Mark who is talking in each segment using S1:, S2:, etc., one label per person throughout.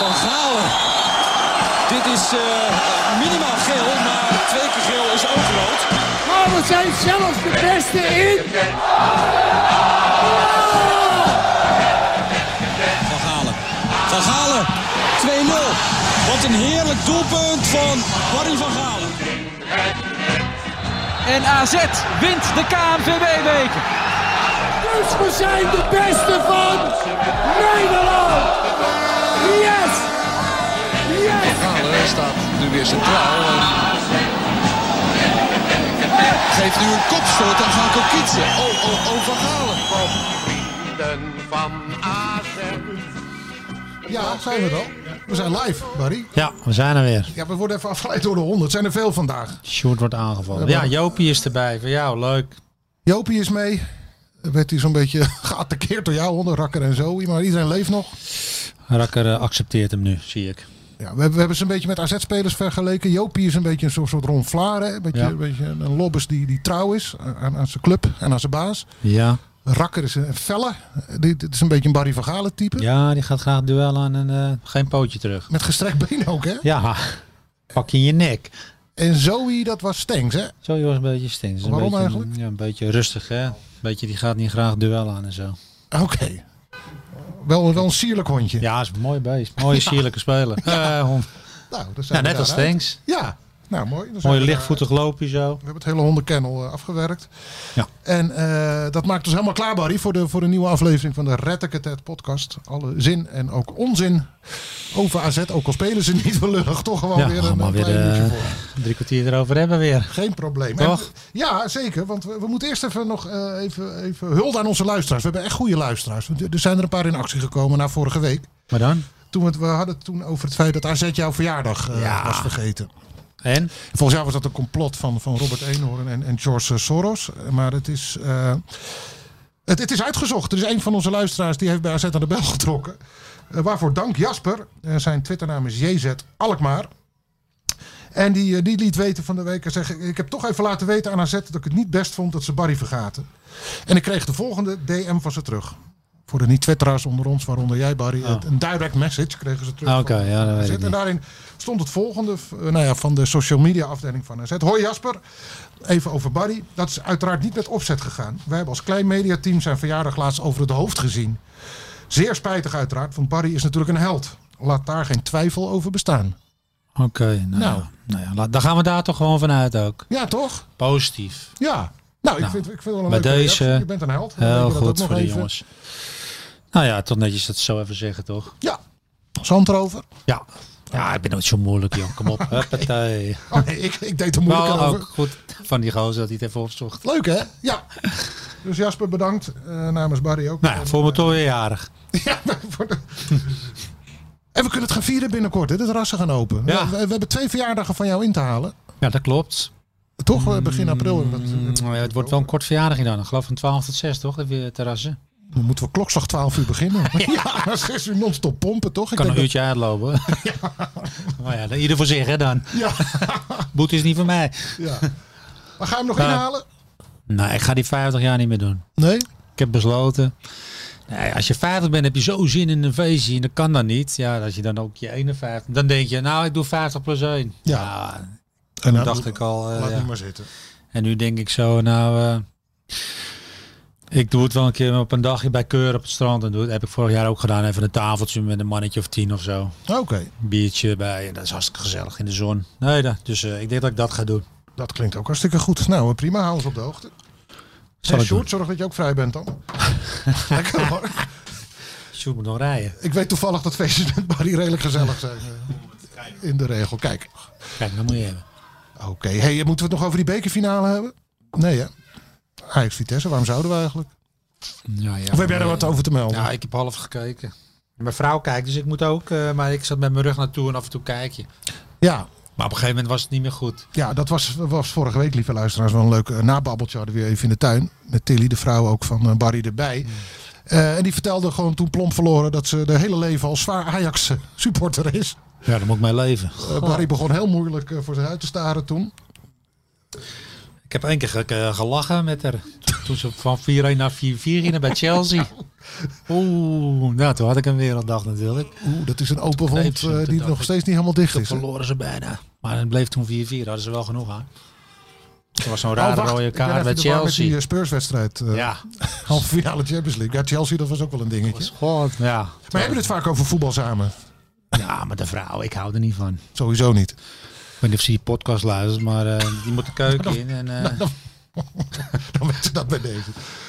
S1: Van Galen. Dit is eh, minimaal geel, maar twee keer geel is ook rood.
S2: Maar we zijn zelfs de beste in. Ah,
S1: Van Galen. Van Galen. 2-0. Wat een heerlijk doelpunt van Barry van Galen.
S3: En AZ wint de KNVB-beker.
S2: Dus we zijn de beste van Nederland. Yes. Yes.
S4: Galen staat nu weer centraal. En... Geeft nu een kopstoot aan Van Kokitsen. Oh, oh, oh, Van Galen.
S5: Ja, zijn we dan. We zijn live, Barry.
S6: Ja, we zijn er weer.
S5: Ja, we worden even afgeleid door de honderd. Zijn er veel vandaag.
S6: Sjoerd wordt aangevallen. Ja, Jopie is erbij. Voor jou, leuk.
S5: Jopie is mee. Werd hij zo'n beetje geattaqueerd door jou, hondenrakker en zo. Maar iedereen leeft nog.
S6: Rakker eh, accepteert hem nu, zie ik.
S5: Ja, we, hebben- we hebben ze een beetje met AZ-spelers vergeleken. Jopie is een beetje een soort, soort Ron Vlaar, hè? Een beetje,
S6: Ja.
S5: een, beetje een een lobbes die, die trouw is aan, aan zijn club en aan zijn baas.
S6: Ja.
S5: Rakker is een felle. Dit dit is een beetje een Barry van Galen type.
S6: Ja, die gaat graag duel aan en eh, geen pootje terug.
S5: Met gestrekt been ook, hè?
S6: Ja, pak je in je nek.
S5: En Zoe, dat was Stengs, hè?
S6: Zo joh, is een beetje stinkt.
S5: Waarom
S6: een beetje,
S5: eigenlijk?
S6: Ja, een beetje rustig, hè. Beetje, die gaat niet graag duel aan en zo.
S5: Oké. Wel, wel een sierlijk hondje.
S6: Ja, is een mooi beest. Mooie sierlijke speler. Eh, hond.
S5: Nou, daar zijn
S6: ja,
S5: we
S6: net als
S5: daaruit.
S6: Stenks.
S5: Ja, nou mooi. Dan zijn
S6: Mooi
S5: we daar-
S6: lichtvoetig loopje zo.
S5: We hebben het hele hondenkennel eh, afgewerkt.
S6: Ja.
S5: En eh, dat maakt ons helemaal klaar, Barry, voor de, voor de nieuwe aflevering van de Rettekatet podcast. Alle zin en ook onzin over AZ. Ook al spelen ze niet lullig, toch gewoon
S6: Ja,
S5: weer een,
S6: maar
S5: een
S6: weer,
S5: klein uurtje
S6: eh,
S5: voor.
S6: Drie kwartier erover hebben we weer.
S5: Geen probleem.
S6: Toch?
S5: En- ja, zeker. Want we, we moeten eerst even nog eh, even, even hulde aan onze luisteraars. We hebben echt goede luisteraars. Er er zijn er een paar in actie gekomen na vorige week.
S6: Maar dan?
S5: Toen we, het- we hadden het toen over het feit dat AZ jouw verjaardag eh,
S6: Ja.
S5: was vergeten.
S6: En?
S5: Volgens jou was dat een complot van, van Robert Eenhoorn en, en George eh, Soros. Maar het is, eh, het, het is uitgezocht. Er is een van onze luisteraars die heeft bij AZ aan de bel getrokken. Eh, waarvoor dank Jasper. Eh, zijn Twitternaam is JZ Alkmaar. En die, eh, die liet weten van de week. Hij zegt, ik heb toch even laten weten aan AZ dat ik het niet best vond dat ze Barry vergaten. En ik kreeg de volgende DM van ze terug. Voor de niet-twitteraars onder ons, waaronder jij Barry. het- Een direct message kregen ze terug.
S6: Oh. Ah,
S5: van-
S6: Oké, ja, dat weet
S5: AZ.
S6: ik
S5: En
S6: niet.
S5: daarin stond het volgende v- eh, nou ja, van de social media afdeling van AZ. Hoi Jasper, even over Barry. Dat is uiteraard niet met opzet gegaan. Wij hebben als klein mediateam zijn verjaardag laatst over het hoofd gezien. Zeer spijtig uiteraard, want Barry is natuurlijk een held. Laat daar geen twijfel over bestaan.
S6: Oké, nou,
S5: Nou.
S6: ja. nou ja, laat- dan gaan we daar toch gewoon vanuit ook.
S5: Ja, toch?
S6: Positief.
S5: Ja. Nou, ik,
S6: Nou,
S5: vind, ik vind wel een
S6: bij
S5: leuke reactie.
S6: deze
S5: Je bent een held. Dan weet
S6: Heel
S5: je dat ook
S6: goed
S5: nog
S6: voor de
S5: even.
S6: jongens. Nou ja, toch netjes dat zo even zeggen, toch?
S5: Ja. Zand erover.
S6: Ja. Ja, ik ben nooit zo moeilijk, joh. Kom op. Huppatee.
S5: Oh, nee, ik, ik deed er moeilijk
S6: Wel
S5: over.
S6: Nou, ook goed van die gozer dat hij het even opzocht.
S5: Leuk hè? Ja. Dus Jasper, bedankt. eh, namens Barry ook.
S6: Nou
S5: En,
S6: ja, voor mijn torenjarig.
S5: Ja, voor de- En we kunnen het gaan vieren binnenkort. Hè? De rassen gaan open.
S6: Ja.
S5: We, we hebben twee verjaardagen van jou in te halen.
S6: Ja, dat klopt.
S5: Toch eh, begin april. En dat,
S6: Mm, ja, het wordt wel een kort verjaardag dan. Ik geloof van 12 tot 6, toch? Even terrassen.
S5: Dan moeten we klokslag 12 uur beginnen. ja, dan zes uur non-stop pompen, toch? Ik
S6: Kan een
S5: denk
S6: uurtje uitlopen. Maar ja, ieder voor zich, hè, dan.
S5: dat- Ja,
S6: Boete is niet van mij.
S5: ja. Maar ga je hem nog
S6: Nou.
S5: inhalen?
S6: Nou, ik ga die 50 jaar niet meer doen.
S5: Nee.
S6: Ik heb besloten. Nee, als je 50 bent, heb je zo zin in een feestje. En dat kan dan niet. Ja, als je dan ook je 51. Dan denk je, nou, ik doe 50 plus 1.
S5: Ja. En
S6: dat
S5: dan
S6: dacht ik al. eh,
S5: Laat
S6: ja.
S5: niet maar zitten.
S6: En nu denk ik zo, nou. eh, ik doe het wel een keer op een dagje bij Keur op het strand. En doe het, heb ik vorig jaar ook gedaan. Even een tafeltje met een mannetje of tien of zo.
S5: Oké,
S6: Een biertje bij. En dat is hartstikke gezellig in de zon. Nee, dat, dus eh, ik denk dat ik dat ga doen.
S5: dat klinkt ook hartstikke goed. Nou, eh, prima, hou ons op de hoogte.
S6: Zal
S5: en
S6: ik
S5: Sjoerd, zorg dat je ook vrij bent dan. Lekker hoor.
S6: doen. Sjoerd moet nog rijden.
S5: Ik weet toevallig dat feestjes met Barry redelijk gezellig zijn. eh, In de regel. Kijk,
S6: Kijk, dat moet je hebben.
S5: Oké, hey, moeten we het nog over die bekerfinale hebben? Nee, hè? Ajax Vitesse, waarom zouden we eigenlijk?
S6: Ja, ja,
S5: Of heb jij er wat over te melden?
S6: Ja, ik heb half gekeken. Mijn vrouw kijkt, dus ik moet ook. eh, maar ik zat met mijn rug naartoe en af en toe kijk je.
S5: Ja,
S6: Maar op een gegeven moment was het niet meer goed.
S5: ja dat was, was vorige week, lieve luisteraars, wel een leuk eh, nababbeltje. Hadden we weer even in de tuin. Met Tilly, de vrouw ook van eh, Barry erbij. Eh, en die vertelde gewoon toen plomp verloren dat ze de hele leven al zwaar Ajax eh, supporter is.
S6: Ja, dan moet ik mijn leven.
S5: Eh, Barry begon heel moeilijk eh, voor zich uit te staren toen.
S6: Ik heb één keer ge- ge- gelachen met haar. Toen- Toen ze van 4-1 naar 4-4 gingen bij Chelsea. Oeh, nou toen had ik een werelddag natuurlijk.
S5: Oeh, dat is een open
S6: Nee,
S5: wond
S6: precies,
S5: eh,
S6: dat
S5: die
S6: dacht
S5: nog
S6: ik.
S5: steeds niet helemaal dicht
S6: Toen
S5: is. hè?
S6: verloren ze bijna. Maar het bleef toen 4-4, hadden ze wel genoeg aan. Er was zo'n
S5: Oh,
S6: rare
S5: wacht,
S6: rode
S5: ik ben
S6: kaart
S5: even
S6: bij
S5: de war met die
S6: Chelsea.
S5: eh, Spurs-wedstrijd. eh,
S6: Ja,
S5: Halve finale Champions League. Ja, Chelsea, dat was ook wel een dingetje.
S6: god. Ja.
S5: Maar hebben we het vaak over voetbal samen?
S6: ja, maar de vrouw, ik hou er niet van.
S5: Sowieso niet.
S6: Ik weet niet of ze die podcast luistert, maar eh, die moet de keuken in. En, eh,
S5: Dan weet je dat bij deze.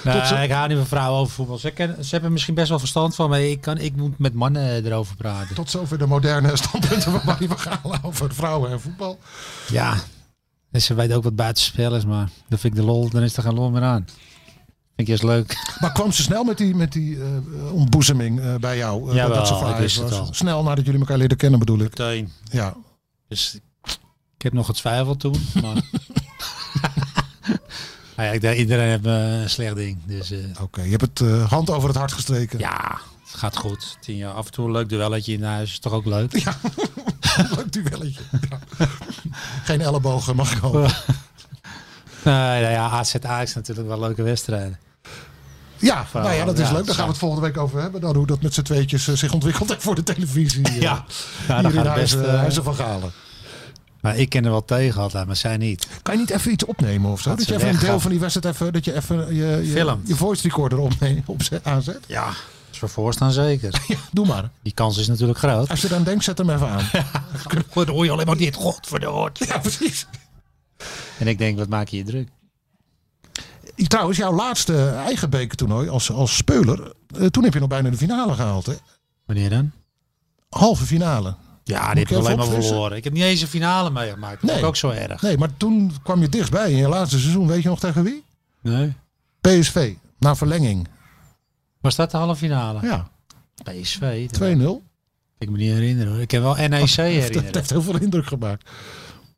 S6: nou,
S5: ze-
S6: ik hou niet van vrouwen over voetbal. Ze, kennen- ze hebben er misschien best wel verstand van, maar ik, kan, ik moet met mannen eh, erover praten.
S5: Tot zover de moderne standpunten van Barry van Galen over vrouwen en voetbal.
S6: Ja, en ze weten ook wat buitenspel is, maar dan vind ik de lol, dan is er geen lol meer aan. Vind ik juist leuk.
S5: Maar kwam ze snel met die, met die eh, ontboezeming eh, bij jou? eh,
S6: Jawel,
S5: dat ze
S6: ik wist
S5: verhuisd
S6: het
S5: was.
S6: al.
S5: Snel nadat jullie elkaar leren kennen bedoel ik.
S6: Meteen.
S5: Ja.
S6: Dus ik heb nog getwijfeld toen, maar... nou ja, ik denk, iedereen heeft eh, een slecht ding, dus... eh,
S5: Oké, je hebt het eh, hand over het hart gestreken.
S6: ja, het gaat goed. Tien jaar af en toe een leuk duelletje in huis, is toch ook leuk?
S5: Leuk duelletje. Ja. Geen ellebogen mag ik hopen.
S6: Nee, nou ja, AZ Ajax natuurlijk wel leuke wedstrijden.
S5: Ja, nou ja, dat is
S6: ja,
S5: leuk. Daar gaan we het volgende week over hebben. Dan hoe dat met z'n tweetjes eh, zich ontwikkeld heeft voor de televisie. eh,
S6: nou,
S5: hier
S6: dan
S5: in
S6: gaat het
S5: huis,
S6: best.
S5: eh,
S6: eh,
S5: Huizen van Galen.
S6: maar ik ken er wel tegen altijd, maar zij niet.
S5: Kan je niet even iets opnemen of zo? Dat,
S6: Dat
S5: je
S6: ze
S5: even een deel
S6: weggaan.
S5: van die wedstrijd even, dat je even je, je,
S6: Filmt.
S5: je voice recorder opne- opzet, aanzet.
S6: Ja, dat is voor voorstaan zeker.
S5: Doe maar.
S6: Die kans is natuurlijk groot.
S5: Als je dan denkt, zet hem even aan.
S6: Dan hoor je alleen maar dit, godverdoord.
S5: ja, precies.
S6: En ik denk, wat maak je je druk?
S5: Trouwens, jouw laatste eigen bekertoernooi als, als speler. eh, toen heb je nog bijna de finale gehaald, hè?
S6: Wanneer dan?
S5: Halve finale.
S6: Ja, dit
S5: ik
S6: heb ik alleen
S5: even
S6: maar
S5: opfrissen?
S6: verloren. Ik heb niet eens een finale meegemaakt. Dat
S5: Nee.
S6: is ook zo erg.
S5: Nee, maar toen kwam je dichtbij in je laatste seizoen. Weet je nog tegen wie?
S6: Nee.
S5: PSV. Na verlenging.
S6: Was dat de halve finale?
S5: Ja,
S6: PSV.
S5: 2-0. Dat
S6: Ik me niet herinneren hoor. Ik heb wel NEC herinneren.
S5: Oh, heeft heel veel indruk gemaakt.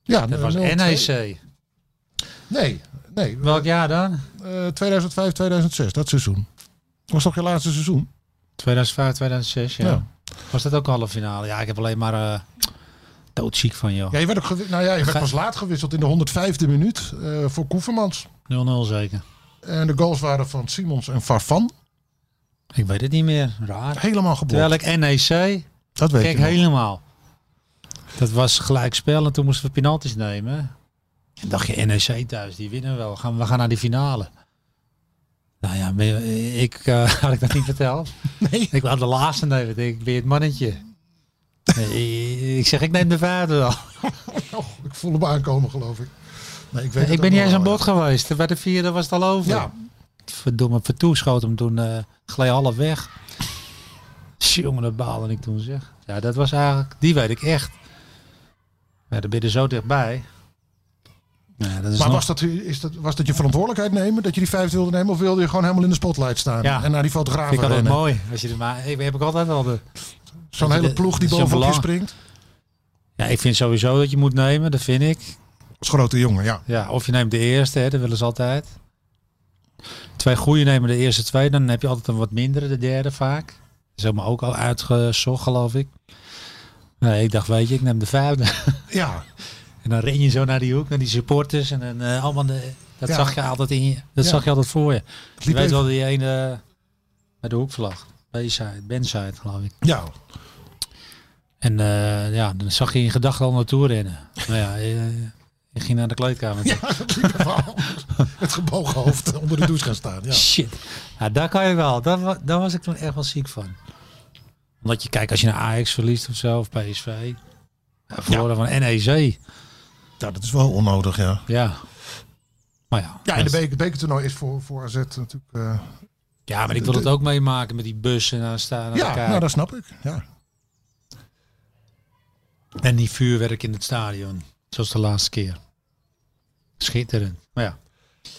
S5: Ja,
S6: Dat was E
S5: 0-2.
S6: NEC.
S5: Nee, nee.
S6: Welk jaar dan?
S5: eh, 2005, 2006, dat seizoen. Was toch je laatste seizoen?
S6: 2005, 2006, ja.
S5: Ja.
S6: Was dat ook halve finale? Ja, ik heb alleen maar eh, doodziek van joh. 0-0
S5: Ja, je werd, ook gewi- nou ja, je werd
S6: Ga-
S5: pas laat gewisseld in de 105e minuut eh, voor Koevermans.
S6: zeker.
S5: En de goals waren van Simons en Farfan.
S6: Ik weet het niet meer. Raar.
S5: Helemaal geblokt.
S6: Terwijl ik NEC
S5: dat weet
S6: Kijk,
S5: ik nog.
S6: helemaal. Dat was gelijkspel en toen moesten we penalties nemen. En dacht je, NEC thuis, die winnen wel. Gaan, we gaan naar die finale. Nou ja, ben je- ik eh, had ik dat niet verteld.
S5: Nee.
S6: Ik had de laatste nemen. Ik denk, ben je het mannetje? Nee, ik zeg, ik neem de vader wel.
S5: Oh, ik voel hem aankomen, geloof ik. Nee, ik weet het
S6: ik
S5: ook
S6: ben niet
S5: nog
S6: eens aan
S5: wel,
S6: bod geweest. Bij de vierde was het al over.
S5: Ja.
S6: Verdomme, Vertoe schoot hem toen eh gleed half weg. Jongen, dat baalde ik toen zeg. Ja, dat was eigenlijk, die weet ik echt. Ja, dan ben je er zo dichtbij. Ja, dat is
S5: Maar
S6: nog-
S5: was dat, is dat, was dat je verantwoordelijkheid nemen? Dat je die vijf wilde nemen? Of wilde je gewoon helemaal in de spotlight staan?
S6: Ja.
S5: En naar die
S6: vind ik
S5: fotografen
S6: altijd
S5: rennen?
S6: mooi. Als je er maar, ik, heb ik altijd al de...
S5: Zo'n
S6: Dat je
S5: hele
S6: de-
S5: ploeg die
S6: dat je
S5: bovenop je
S6: belang-
S5: springt.
S6: Ja, ik vind sowieso dat je moet nemen, dat vind ik.
S5: Als grote jongen, ja.
S6: Ja, of je neemt de eerste, hè, dat willen ze altijd. Twee goede nemen de eerste twee, dan heb je altijd een wat mindere, de derde vaak. Dat is helemaal ook al uitgezocht, geloof ik. Nee, ik dacht, weet je, ik neem de vijfde.
S5: Ja,
S6: En dan ren je zo naar die hoek, naar die supporters. En dan eh, allemaal de, dat
S5: Ja.
S6: zag je altijd in je, dat
S5: Ja.
S6: zag je altijd voor je.
S5: het
S6: Je
S5: liep
S6: weet
S5: even-
S6: wel die ene bij de hoekvlag. B-side, Ben-side geloof ik.
S5: ja.
S6: En eh, ja, dan zag je in gedachten al naartoe rennen. Nou ja, je, je ging naar de kleedkamer. toe.
S5: Het liep even al. Het gebogen hoofd onder de douche gaan staan. Ja.
S6: Shit. Ja, Nou, daar kan je wel. Daar, wa- daar was ik toen echt wel ziek van. Omdat je kijkt, als je naar Ajax verliest of zo, of PSV. Ja, verloren van NEC.
S5: ja, dat is wel onnodig, ja.
S6: Ja. Maar ja.
S5: Ja, en de beker, bekertoernooi is voor, voor AZ natuurlijk... eh,
S6: Ja, maar ik wil het ook meemaken met die bussen naar staan. Naar
S5: ja,
S6: elkaar.
S5: nou, dat snap ik. Ja.
S6: En die vuurwerk in het stadion. Zoals de laatste keer. Schitterend. Maar ja.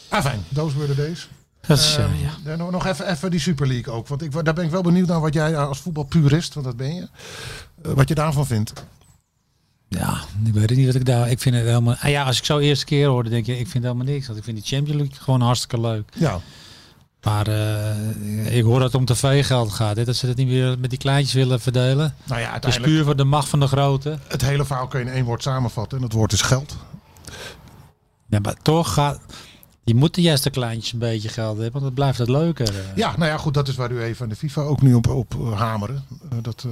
S5: Ah, fijn. Those were the days.
S6: Dat is, eh,
S5: Ehm,
S6: ja.
S5: ja, nog nog even, even die Super League ook. Want ik, wa- daar ben ik wel benieuwd naar wat jij als voetbalpurist, want dat ben je, eh, wat je daarvan vindt.
S6: ja, ik weet het niet wat ik daar... Ik vind het helemaal... Ah ja, als ik zo eerste keer hoorde, denk je, ik vind helemaal niks. Want ik vind de Champions League gewoon hartstikke leuk.
S5: Ja,
S6: Maar eh, ik hoor dat het om tv-geld gaat. Hè? Dat ze dat niet meer met die kleintjes willen verdelen.
S5: nou ja,
S6: Het is
S5: uiteindelijk
S6: puur voor de macht van de grote.
S5: het hele verhaal kun je in één woord samenvatten. En dat woord is geld.
S6: Ja, maar toch gaat... Je moet de juiste kleintjes een beetje geld hebben, want dat blijft het leuker. eh.
S5: Ja, nou ja, goed, dat is waar u even en de FIFA ook nu op, op eh, hameren. Eh, dat, eh,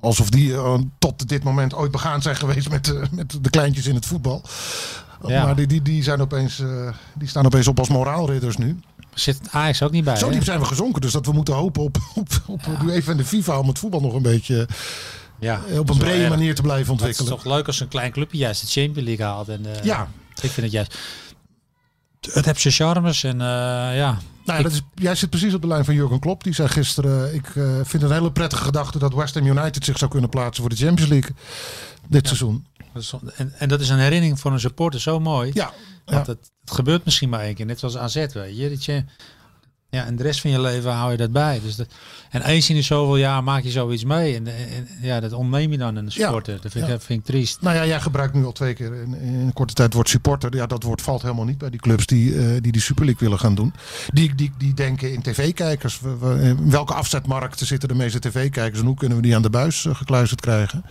S5: alsof die eh, tot dit moment ooit begaan zijn geweest met, eh, met de kleintjes in het voetbal.
S6: Ja.
S5: Maar die, die, die, zijn opeens, eh, die staan opeens op als moraalridders nu.
S6: Zit het Ajax ook niet bij,
S5: Zo
S6: hè?
S5: diep zijn we gezonken, dus dat we moeten hopen op, op, op UEFA en de FIFA om het voetbal nog een beetje
S6: Ja,
S5: eh, op
S6: dat
S5: een
S6: is wel
S5: brede
S6: erg.
S5: manier te blijven
S6: Maar Het is
S5: ontwikkelen.
S6: toch leuk als een klein clubje juist de Champions League haalt. En, eh,
S5: Ja,
S6: Ik vind het juist... Het heeft zijn charmes en eh, ja,
S5: Nou, ja, dat is, jij zit precies op de lijn van Jurgen Klopp. Die zei gisteren, eh, ik eh, vind het een hele prettige gedachte dat West Ham United zich zou kunnen plaatsen voor de Champions League dit seizoen.
S6: Dat is- En, en dat is een herinnering voor een supporter zo mooi.
S5: Ja,
S6: Want het, het gebeurt misschien maar één keer. Net zoals AZ, weet je. Dat je ja, en de rest van je leven hou je dat bij. Dus dat, en eens in de zoveel jaar maak je zoiets mee. En, en- ja, dat ontneem je dan aan de supporter. Dat vind, ik,
S5: Ja.
S6: dat vind ik triest.
S5: nou ja, jij gebruikt nu al twee keer in, in een korte tijd het woord supporter. Ja, dat woord valt helemaal niet bij die clubs die eh, die, die Super League willen gaan doen. Die, die, die denken in tv-kijkers. We- we- in welke afzetmarkten zitten de meeste tv-kijkers en hoe kunnen we die aan de buis eh, gekluisterd krijgen?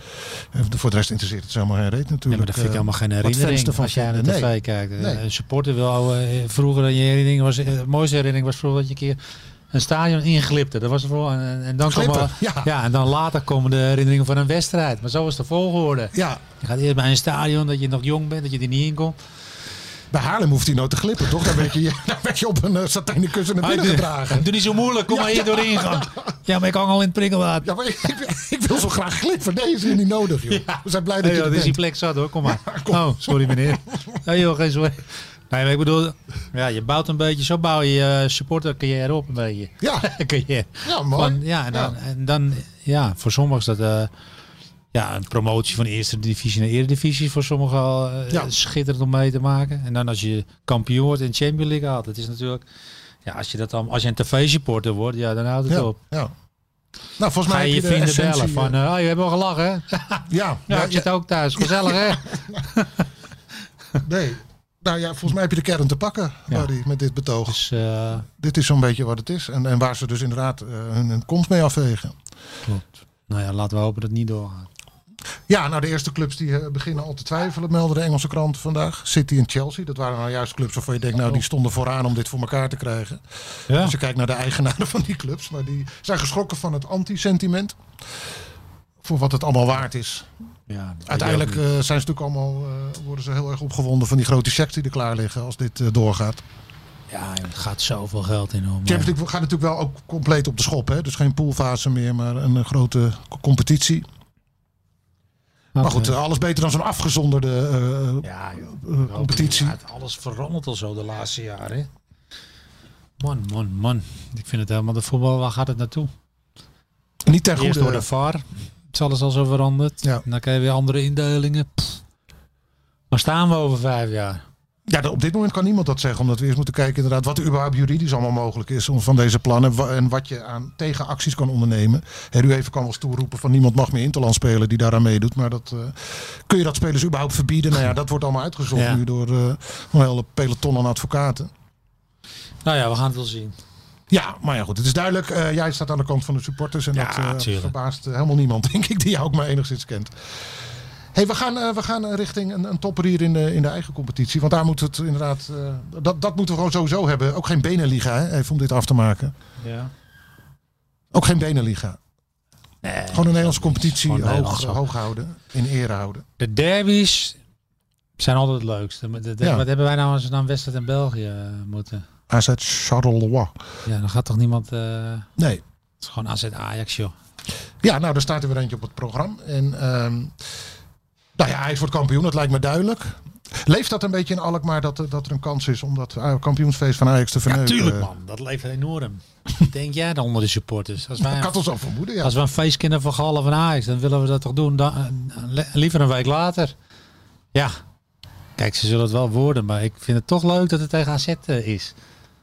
S5: En voor de rest interesseert het ze helemaal geen reet natuurlijk.
S6: Ja, maar dat vind ik
S5: Eh,
S6: helemaal geen
S5: wat fans
S6: herinnering
S5: ervan
S6: als jij naar de
S5: vinden.
S6: tv
S5: Nee.
S6: kijkt. Eh,
S5: Nee.
S6: Een supporter wil eh, vroeger dan je herinnering was, eh, het mooiste herinnering was vroeger dat je een keer een stadion inglipte. Dat was er vooral, en, en dan
S5: Glippen,
S6: komen,
S5: ja.
S6: ja, en dan later komen de herinneringen van een wedstrijd. Maar zo was de volgorde.
S5: Ja,
S6: Je gaat eerst bij een stadion dat je nog jong bent, dat je er niet in komt.
S5: Bij Haarlem hoeft hij nou te glippen, toch? Daar werd je, daar werd je op een eh, satijnen kussen
S6: Ah,
S5: naar binnen gedragen.
S6: Doe niet zo moeilijk, kom
S5: Ja,
S6: maar hier
S5: ja.
S6: doorheen gaan. Ja, maar ik hang al in het prikkelwater.
S5: Ja, maar ik, ik wil zo graag glippen. Nee, is hier niet nodig, joh. We zijn blij dat
S6: Nee,
S5: je
S6: joh,
S5: er
S6: dit is die
S5: bent.
S6: plek zat hoor, kom maar. Oh, sorry meneer. Nee joh, geen sorry. Nee, maar ik bedoel, ja, je bouwt een beetje, zo bouw je je eh, supportercarrière op een beetje.
S5: Ja,
S6: Carrière.
S5: ja mooi.
S6: Van, ja, en dan,
S5: Ja.
S6: En dan, ja, voor sommigen is dat eh, ja, een promotie van de eerste divisie naar eredivisie. Voor sommigen al eh,
S5: Ja.
S6: schitterend om mee te maken. En dan als je kampioen wordt en Champions League haalt. Dat is natuurlijk, ja, als je, dat dan, als je een tv-supporter wordt, ja, dan houdt het
S5: Ja,
S6: op.
S5: ja. Nou, volgens
S6: Ga
S5: mij
S6: je je
S5: heb de
S6: vrienden
S5: essentie,
S6: bellen
S5: eh,
S6: van, eh, oh, je hebt wel gelachen hè?
S5: ja,
S6: Ja,
S5: ja,
S6: ik zit ook thuis. Gezellig hè?
S5: nee. Nou ja, volgens mij heb je de kern te pakken,
S6: Ja.
S5: Barry, met dit betoog.
S6: Dus eh,
S5: Dit is zo'n beetje wat het is. En, en waar ze dus inderdaad eh, hun, hun kont mee afvegen.
S6: nou ja, laten we hopen dat het niet doorgaat.
S5: Ja, nou de eerste clubs die eh, beginnen al te twijfelen, melden de Engelse kranten vandaag. City en Chelsea, dat waren nou juist clubs waarvan je denkt, nou die stonden vooraan om dit voor elkaar te krijgen.
S6: Ja.
S5: Als je kijkt naar de eigenaren van die clubs. Maar die zijn geschrokken van het anti-sentiment. Voor wat het allemaal waard is.
S6: Ja, dat weet
S5: Uiteindelijk
S6: je ook
S5: eh, zijn ze natuurlijk allemaal, eh, worden ze heel erg opgewonden van die grote checks die er klaar liggen als dit eh, doorgaat.
S6: niet. ja, er gaat zoveel geld in om.
S5: Champions League gaat natuurlijk wel ook compleet op de schop. Hè? Dus geen poolfase meer, maar een eh, grote co- competitie. Maar goed, eh, alles beter dan zo'n afgezonderde eh,
S6: Ja, joh.
S5: eh, competitie.
S6: Ja, het- alles verandert al zo de laatste jaren. hè. Man, man, man. Ik vind het helemaal de voetbal. Waar gaat het naartoe?
S5: Niet ten
S6: Eerst door de
S5: goede.
S6: VAR. Het is alles al zo veranderd.
S5: eh, Ja.
S6: En dan krijg je weer andere indelingen. Pff. Waar staan we over vijf jaar?
S5: Ja, de- op dit moment kan niemand dat zeggen. Omdat we eerst moeten kijken inderdaad wat er überhaupt juridisch allemaal mogelijk is om van deze plannen. wa- En wat je aan tegenacties kan ondernemen. Hè, U even kan wel eens toeroepen van niemand mag meer Interland spelen die daaraan meedoet. Maar dat, eh, kun je dat spelers überhaupt verbieden? Nou ja, dat wordt allemaal uitgezocht
S6: Ja.
S5: nu door eh, een hele peloton aan advocaten.
S6: Nou ja, we gaan het wel zien.
S5: Ja, maar ja goed, het is duidelijk. eh, jij staat aan de kant van de supporters. En
S6: Ja,
S5: dat eh,
S6: tuurlijk.
S5: verbaast eh, helemaal niemand, denk ik, die jou ook maar enigszins kent. hey, we gaan, eh, we gaan eh, richting een, een topper hier in de, in de eigen competitie. Want daar moet het inderdaad... eh, dat, dat moeten we gewoon sowieso hebben. Ook geen Beneliga, hè, even om dit af te maken.
S6: Ja.
S5: Ook geen Beneliga.
S6: Nee,
S5: Gewoon een Nederlandse competitie
S6: Gewoon
S5: hoog,
S6: Nederlands ook.
S5: hoog houden. In ere houden.
S6: De derbies zijn altijd het leukste. Maar de- de-
S5: Ja.
S6: Wat hebben wij nou als we naar Wedstrijd en België eh, moeten?
S5: AZ Charleroi.
S6: Ja, dan gaat toch niemand... eh,
S5: Nee,
S6: het is gewoon AZ Ajax, joh.
S5: Ja, nou, daar staat er weer eentje op het programma. En ehm nou ja, Ajax wordt kampioen, dat lijkt me duidelijk. Leeft dat een beetje in Alkmaar dat, er- dat er een kans is om dat eh, kampioensfeest van Ajax te verneuken?
S6: Tuurlijk, man. Dat leeft enorm. Denk jij dan onder de supporters? Als wij
S5: Ik had ons al vermoeden, ja.
S6: Als we een feest kunnen vergallen van Ajax, dan willen we dat toch doen. Dan, eh, li- liever een week later. Ja. Kijk, ze zullen het wel worden, maar ik vind het toch leuk dat het tegen AZ eh, is.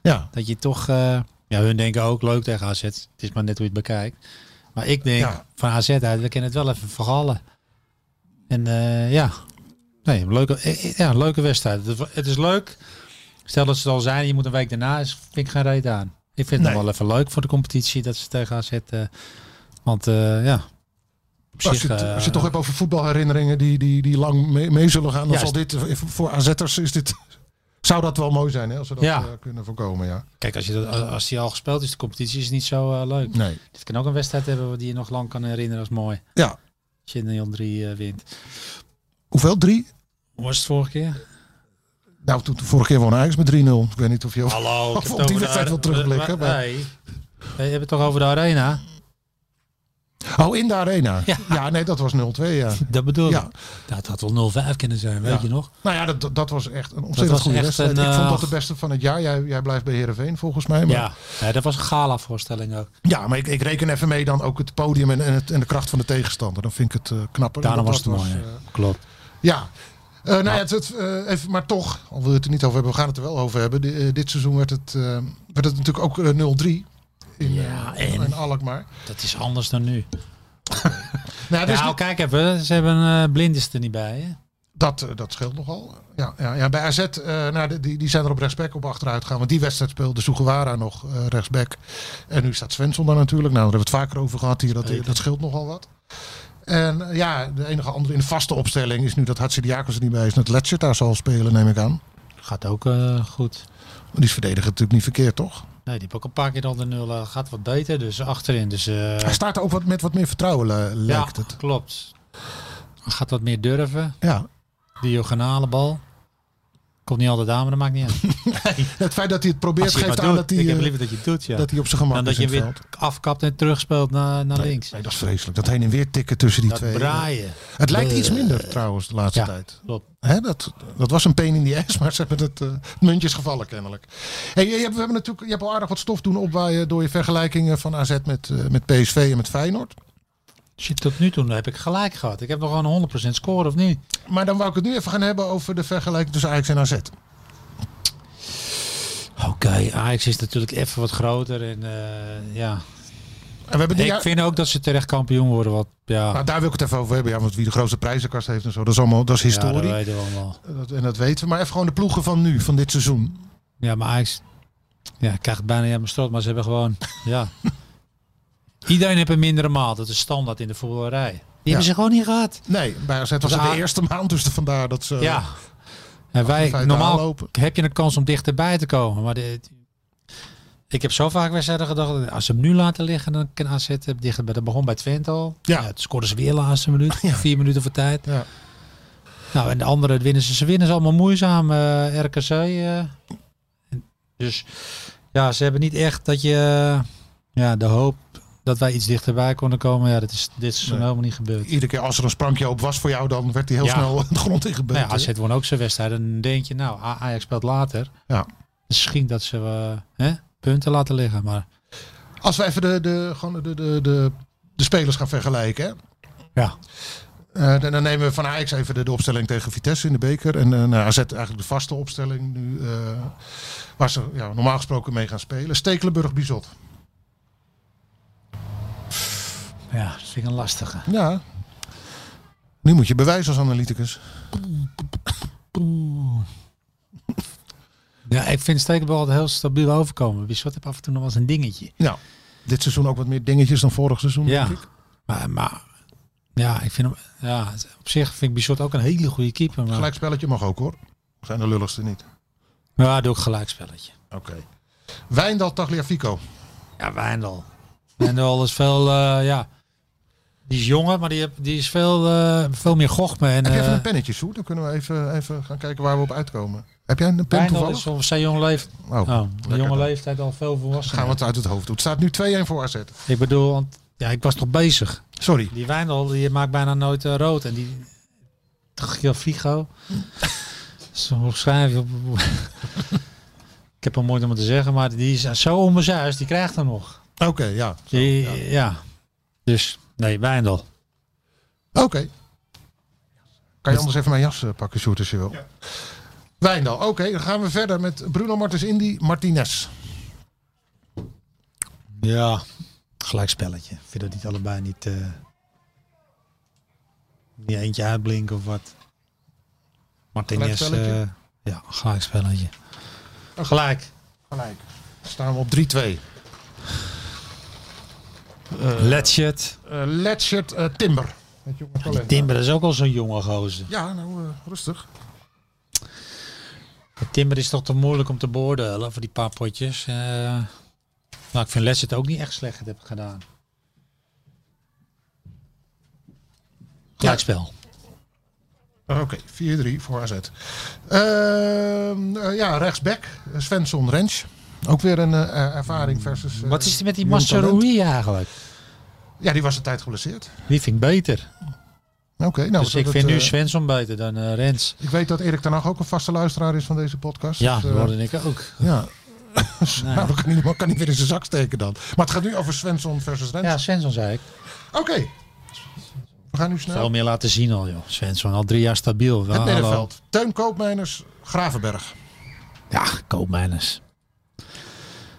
S5: ja.
S6: Dat je toch... eh, ja, hun denken ook leuk tegen AZ. Het is maar net hoe je het bekijkt. Maar ik denk,
S5: Ja.
S6: van AZ uit, we kunnen het wel even vergallen. En eh, ja. Nee, een leuke, eh, eh, ja, een leuke wedstrijd. Het, is- het is leuk. Stel dat ze het al zijn, je moet een week daarna, is, vind ik geen reet aan. Ik vind het
S5: Nee.
S6: nog wel even leuk voor de competitie dat ze tegen AZ... eh, want eh, ja, op
S5: Als
S6: zich,
S5: je, het-
S6: eh,
S5: als je het toch hebt over voetbalherinneringen die, die, die lang mee, mee zullen gaan, dan
S6: Juist.
S5: zal dit eh, voor AZ'ers is dit Zou dat wel mooi zijn hè, als we dat
S6: Ja.
S5: eh, kunnen voorkomen, ja.
S6: Kijk, als, je dat, als die al gespeeld is, de competitie is het niet zo eh, leuk.
S5: Nee.
S6: Dit kan ook een wedstrijd hebben die je nog lang kan herinneren als mooi.
S5: Ja.
S6: Als je in Nederland 3 eh, wint.
S5: Hoeveel? Drie?
S6: Hoe was het vorige keer?
S5: Nou, toen, toen vorige keer won Ajax met 3-0. Ik weet niet of je...
S6: Hallo,
S5: ik heb het over de ar- we- we-
S6: Nee, we hebben het toch over de arena?
S5: Oh, in de arena. Ja, nee, dat was 0-2, ja.
S6: Dat bedoel
S5: Ja.
S6: ik. Dat had wel 0-5 kunnen zijn, weet
S5: Ja.
S6: je nog?
S5: Nou ja, dat, dat was echt een ontzettend
S6: was
S5: goede
S6: echt
S5: wedstrijd.
S6: een,
S5: ik vond dat
S6: eh,
S5: de beste van het jaar. Jij, jij blijft bij Heerenveen volgens mij. Maar, ja.
S6: Ja. ja, dat was een gala-voorstelling ook.
S5: maar ik, ik reken even mee dan ook het podium en, en, het, en de kracht van de tegenstander. Dan vind ik het eh, knapper.
S6: Daarom was
S5: Want
S6: het
S5: dat
S6: mooi.
S5: eh,
S6: hè. Klopt.
S5: ja. Eh, nou ja, het, het, eh, even, maar toch, al wil je het er niet over hebben, we gaan het er wel over hebben. Di- eh, dit seizoen werd het, eh, werd het natuurlijk ook eh, 0-3 in,
S6: Ja,
S5: eh,
S6: en?
S5: in Alkmaar.
S6: Dat is anders dan nu.
S5: Nou, dus
S6: Nou,
S5: niet-
S6: kijk even. Ze hebben een blinders er niet bij, hè?
S5: Dat, eh, dat scheelt nogal. Ja, ja, ja bij AZ, eh, nou, die- die, die zijn er op rechtsback op achteruit gaan. Want die wedstrijd speelde Sugawara nog eh, rechtsback. En nu staat Svensson daar natuurlijk. Nou, daar hebben we het vaker over gehad hier. Dat,
S6: Zeker.
S5: dat scheelt nogal wat. En eh, ja, de enige andere in de vaste opstelling is nu dat Hatsidiakos er niet bij is. En dat Letchert daar zal spelen, neem ik aan.
S6: Gaat ook eh, goed.
S5: Want Die is verdedigend natuurlijk niet verkeerd, toch?
S6: Nee, die heb ook een paar keer onder nul. eh, gaat wat beter, dus achterin. Dus, eh,
S5: Hij staat er ook wat, met wat meer vertrouwen, eh,
S6: ja,
S5: lijkt het.
S6: klopt. Gaat wat meer durven.
S5: Ja.
S6: Diagonale bal. Komt niet altijd aan, maar dat maakt niet uit.
S5: Het feit dat hij het probeert
S6: Als je het
S5: geeft
S6: maar
S5: aan
S6: doet.
S5: dat hij,
S6: Ik heb
S5: eh,
S6: liever dat je het doet, ja.
S5: dat hij op zijn gemak
S6: dan dat
S5: is in
S6: je
S5: het
S6: weer
S5: veld.
S6: afkapt en terugspeelt naar, naar links.
S5: Nee, dat is vreselijk. Dat heen en weer tikken tussen die
S6: dat
S5: twee.
S6: braaien.
S5: Het lijkt iets
S6: Eh,
S5: minder trouwens de laatste
S6: ja.
S5: tijd.
S6: Klopt.
S5: Hè, dat, dat was een pain in the ass, maar ze hebben het eh, het muntje is gevallen kennelijk. Hey, je, je hebt, we hebben natuurlijk, je hebt al aardig wat stof doen opwaaien door je vergelijkingen van AZ met, eh, met PSV en met Feyenoord.
S6: Shit, tot nu toe heb ik gelijk gehad. Ik heb nog gewoon 100% score, of niet?
S5: Maar dan wou ik het nu even gaan hebben over de vergelijking tussen Ajax en AZ.
S6: Oké, Ajax is natuurlijk even wat groter. En, eh, ja.
S5: En we hebben die,
S6: Ik vind ook dat ze terecht kampioen worden. Wat, ja,
S5: nou, daar wil ik het even over hebben, ja, want wie de grootste prijzenkast heeft en zo, dat is allemaal dat is
S6: ja, dat
S5: historie.
S6: weten we allemaal.
S5: Dat- en dat weten we. Maar even gewoon de ploegen van nu, van dit seizoen.
S6: Ja, maar Ajax ja, krijgt bijna niet aan mijn strot, maar ze hebben gewoon... ja. Iedereen heeft een mindere maal. Dat is standaard in de voetballerij. Die hebben ze gewoon niet gehad.
S5: Nee, bij AZ was
S6: Dus
S5: het de
S6: A-
S5: eerste maand, dus vandaar dat ze...
S6: ja. En
S5: in
S6: wij,
S5: feite
S6: normaal
S5: aanlopen.
S6: heb je een kans om dichterbij te komen. Maar dit- ik heb zo vaak wedstrijden gedacht, als ze hem nu laten liggen, dan kan AZ het dichterbij. Dat begon bij Twente al.
S5: Ja.
S6: het scoorden ze weer de laatste minuut. Vier minuten voor tijd.
S5: Ja.
S6: Nou, en de andere winnen ze. Ze winnen ze allemaal moeizaam. eh, RKC. eh. Dus ja, ze hebben niet echt dat je eh, ja, de hoop dat wij iets dichterbij konden komen. Ja, dat is, dit is zo
S5: Nee.
S6: helemaal niet gebeurd.
S5: Iedere keer als er een sprankje op was voor jou, dan werd hij heel
S6: Ja.
S5: snel de grond ingebeten.
S6: Nou ja, AZ won ook zijn wedstrijd. Dan denk je, nou, A- Ajax speelt later.
S5: Ja.
S6: Misschien dat ze eh, hè, punten laten liggen. Maar
S5: Als we even de, de, gewoon de, de, de, de spelers gaan vergelijken. Hè?
S6: ja,
S5: Eh, dan, dan nemen we van Ajax even de, de opstelling tegen Vitesse in de beker. En eh nou, AZ eigenlijk de vaste opstelling nu. eh, waar ze ja, normaal gesproken mee gaan spelen. Stekelenburg Bizot.
S6: ja, dat vind ik een lastige.
S5: Ja. Nu moet je bewijzen als analyticus.
S6: Ja, ik vind Stekenbal altijd heel stabiel overkomen. Bissot heb af en toe nog wel eens een dingetje.
S5: Ja. Dit seizoen ook wat meer dingetjes dan vorig seizoen.
S6: Ja.
S5: denk ik.
S6: Maar, maar ja, ik vind hem, ja, op zich vind ik Bissot ook een hele goede keeper. Maar
S5: Gelijkspelletje mag ook hoor. Zijn de lulligste niet.
S6: ja, doe ik gelijkspelletje.
S5: Oké. Wijndal Tagliafico.
S6: Ja, Wijndal. Wijndal is veel, eh, ja, die is jonger, maar die, heb- die is veel, eh, veel meer gochme. En,
S5: Heb je even
S6: eh,
S5: een pennetje, Sjoerd? Dan kunnen we even, even gaan kijken waar we op uitkomen. Heb jij een pen
S6: Wijndal
S5: toevallig?
S6: is op zijn jonge leeftijd.
S5: Oh,
S6: Oh,
S5: lekker
S6: de jonge
S5: dan.
S6: leeftijd al veel volwassen.
S5: Gaan we het uit het hoofd doen. Het staat nu 2-1 voor AZ.
S6: Ik bedoel, want ja, ik was nog bezig.
S5: Sorry.
S6: Die Wijndal die maakt bijna nooit eh, rood. En die Gil Figo. Zo schrijf je. op- ik heb hem mooi om het te zeggen, maar die is zo onbezuist. Die krijgt er nog.
S5: Oké, ja.
S6: Die, ja. Dus, nee, Wijndal.
S5: Oké. Kan je anders even mijn jas eh, pakken, Sjoerd, als je wil. Wijndal, oké. dan gaan we verder met Bruno Martens Indy, Martinez.
S6: Ja. Gelijkspelletje. Ik vind dat niet allebei niet... eh niet eentje uitblinken of wat. Martinez.
S5: Gelijkspelletje?
S6: eh, ja, gelijkspelletje. Gelijk.
S5: Gelijk. Staan we op 3-2.
S6: Letchet.
S5: Eh Letchert eh, Timber. Met jonge collega.
S6: Timber is ook al zo'n jonge gozer.
S5: Ja, nou, eh, rustig.
S6: Maar Timber is toch te moeilijk om te beoordelen voor die paar potjes. Eh, nou, ik vind Les het ook niet echt slecht hebben gedaan. Gelijkspel.
S5: Oké, 4-3 voor AZ. Ehm, eh, ja, rechtsback. Svensson Rens. Ook weer een eh, ervaring versus... eh,
S6: Hmm. Wat is er met die
S5: jong talent.
S6: Massaroui eigenlijk?
S5: Ja, die was een tijd geblesseerd.
S6: Die vind ik beter.
S5: Oké, nou...
S6: dus
S5: dat-
S6: ik
S5: dat,
S6: vind nu
S5: eh,
S6: Svensson beter dan eh, Rens.
S5: Ik weet dat Erik ten Hag ook een vaste luisteraar is van deze podcast.
S6: Ja,
S5: Dus, eh,
S6: dat hoorde ik ook.
S5: ja. Nou, dat kan, niet, kan niet weer in zijn zak steken dan. Maar het gaat nu over Svensson versus Rens.
S6: Ja, Svensson zei ik.
S5: Oké. We gaan nu snel.
S6: Veel meer laten zien al, joh. Svensson al drie jaar stabiel.
S5: Het
S6: Hallo.
S5: middenveld. Teun Koopmeiners, Gravenberg.
S6: Ja, koopmijners.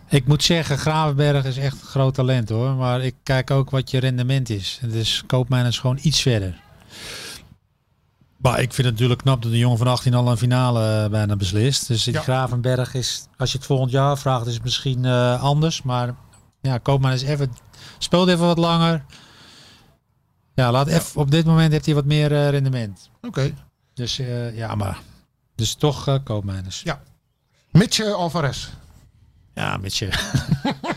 S6: Ik moet zeggen, Gravenberg is echt een groot talent hoor. Maar ik kijk ook wat je rendement is. Dus koopmijners gewoon iets verder. Maar ik vind het natuurlijk knap dat de jongen van 18 al een finale eh, bijna beslist. Dus die
S5: Ja.
S6: Gravenberg is, als je het volgend jaar vraagt, is het misschien eh, anders. Maar ja, koopmijners even, speelt even wat langer. Ja, laat even, op dit moment heeft hij wat meer eh, rendement.
S5: Oké.
S6: Dus eh, ja, maar. Dus toch eh koopmijners.
S5: Mitje Alvarez.
S6: Ja, met je.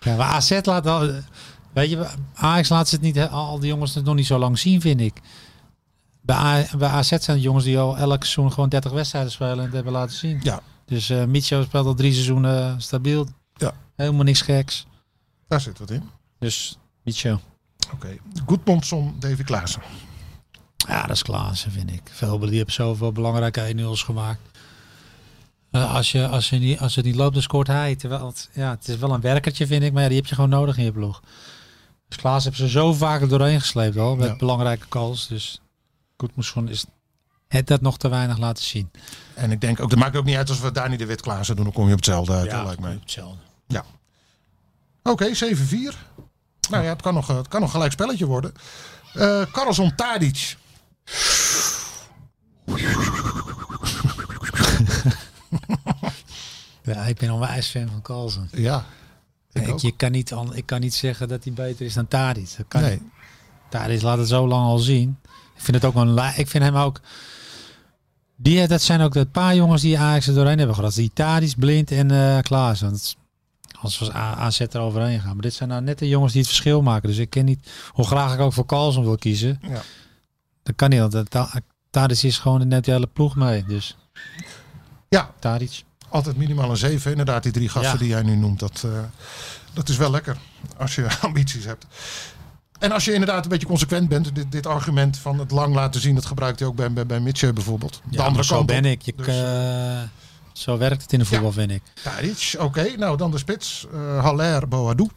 S6: ja, maar AZ laat wel. Weet je, Ajax laat ze het niet, al die jongens het nog niet zo lang zien, vind ik. Bij, A- bij AZ zijn het jongens die al elk seizoen gewoon 30 wedstrijden spelen en het hebben laten zien.
S5: Ja.
S6: Dus eh Micho speelt al drie seizoenen stabiel.
S5: Ja.
S6: Helemaal niks geks.
S5: Daar zit wat in.
S6: Dus Micho.
S5: Oké. Goedmondson, Davy Klaassen.
S6: Ja, dat is Klaassen, vind ik. Veel, die hebben zoveel belangrijke 1-0's gemaakt. Eh, als, je, als, je niet, als het niet loopt, dan scoort hij. Terwijl het, ja, het is wel een werkertje, vind ik. Maar ja, die heb je gewoon nodig in je ploeg. Dus Klaassen hebben ze zo vaak er doorheen gesleept al. Met
S5: Ja.
S6: belangrijke calls. Dus Goedmoesson is het dat nog te weinig laten zien.
S5: En ik denk ook, dat maakt ook niet uit als we Dani de Wit Klaassen doen. Dan kom je op hetzelfde uit, ja. lijkt mij.
S6: hetzelfde.
S5: Oké, 7-4. Nou ja, het kan nog, eh, het kan nog gelijk spelletje worden. Eh Karlsson Tadic.
S6: Ja, ik ben onwijs fan van Carlsen.
S5: Ja. Ik
S6: Ik,
S5: ook.
S6: je kan niet, an- ik kan niet zeggen dat hij beter is dan Tadic. Dat kan
S5: Nee.
S6: Tadis laat het zo lang al zien. Ik vind het ook een la- Ik vind hem ook. Die, eh, dat zijn ook de paar jongens die Ajax er doorheen hebben gehad. Die Tadis, Blind en eh Klaas. Want anders was A- AZ er overheen gaan. Maar dit zijn nou net de jongens die het verschil maken. Dus ik ken niet hoe graag ik ook voor Carlsen wil kiezen.
S5: Ja.
S6: Dat kan niet. Want Ta- Tadis is gewoon net de hele ploeg mee. Dus
S5: Ja,
S6: Tadic.
S5: altijd minimaal een 7. Inderdaad, die drie gasten
S6: Ja.
S5: die jij nu noemt. Dat, eh, dat is wel lekker. Als je ambities hebt. En als je inderdaad een beetje consequent bent. Dit, dit argument van het lang laten zien. Dat gebruikt hij ook bij, bij, bij Mitchell bijvoorbeeld. De andere
S6: zo
S5: kant op.
S6: ben ik. Je,
S5: Dus-
S6: eh, zo werkt het in de voetbal, vind ik.
S5: Tadic, oké. Nou, dan de spits. eh Haller, Boadou.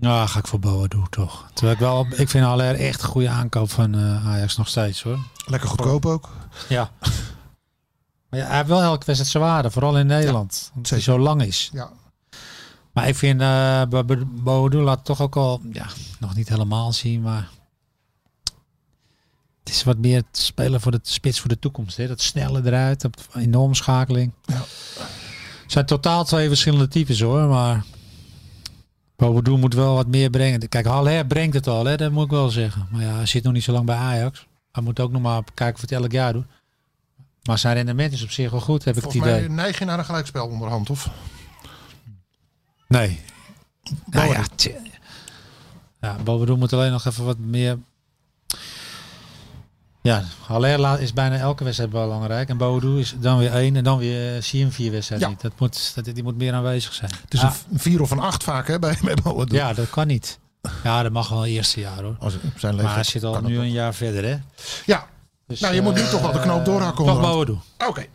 S6: Nou, ga ik voor Boa doen toch. Terwijl ik wel, ik vind Haller echt een goede aankoop van eh, Ajax nog steeds hoor.
S5: Lekker goedkoop ook.
S6: Ja. Maar ja, hij heeft wel elke wedstrijd zijn waarde, vooral in Nederland. omdat hij
S5: zeker.
S6: zo lang is.
S5: Ja.
S6: Maar ik vind eh Bo- Bo- Boadu laat toch ook al, ja, nog niet helemaal zien, maar het is wat meer het spelen voor de spits voor de toekomst. Hè? Dat snelle eruit, dat enorme schakeling.
S5: Ja.
S6: Het zijn totaal twee verschillende types hoor, maar Boadu moet wel wat meer brengen. Kijk, Haller brengt het al, hè? dat moet ik wel zeggen. Maar ja, hij zit nog niet zo lang bij Ajax. Hij moet ook nog maar kijken of hij het elk jaar doet. Maar zijn rendement is op zich wel goed, heb ik
S5: Volgens
S6: het
S5: mij
S6: idee.
S5: neig je naar een gelijkspel onderhand, of?
S6: Nee. Nou
S5: Boadu.
S6: ja, tje. ja, Bobadou moet alleen nog even wat meer... Ja, Haller laat- is bijna elke wedstrijd belangrijk. En Bobadou is dan weer één en dan weer eh, zie je hem vier wedstrijden
S5: Ja.
S6: niet. Dat moet, dat, die moet meer aanwezig zijn.
S5: Het is
S6: Ah,
S5: een v- een vier of een acht vaak hè, bij, bij Boadou.
S6: ja, dat kan niet. Ja, dat mag wel eerste jaar hoor.
S5: Als, op zijn
S6: Maar
S5: leeftijd
S6: hij zit al
S5: kan
S6: nu
S5: dat
S6: een jaar verder hè.
S5: nog. Ja,
S6: Dus,
S5: Nou, je moet nu
S6: eh,
S5: toch wel de knoop doorhakken
S6: Toch
S5: onderhand.
S6: Bobadou.
S5: oké.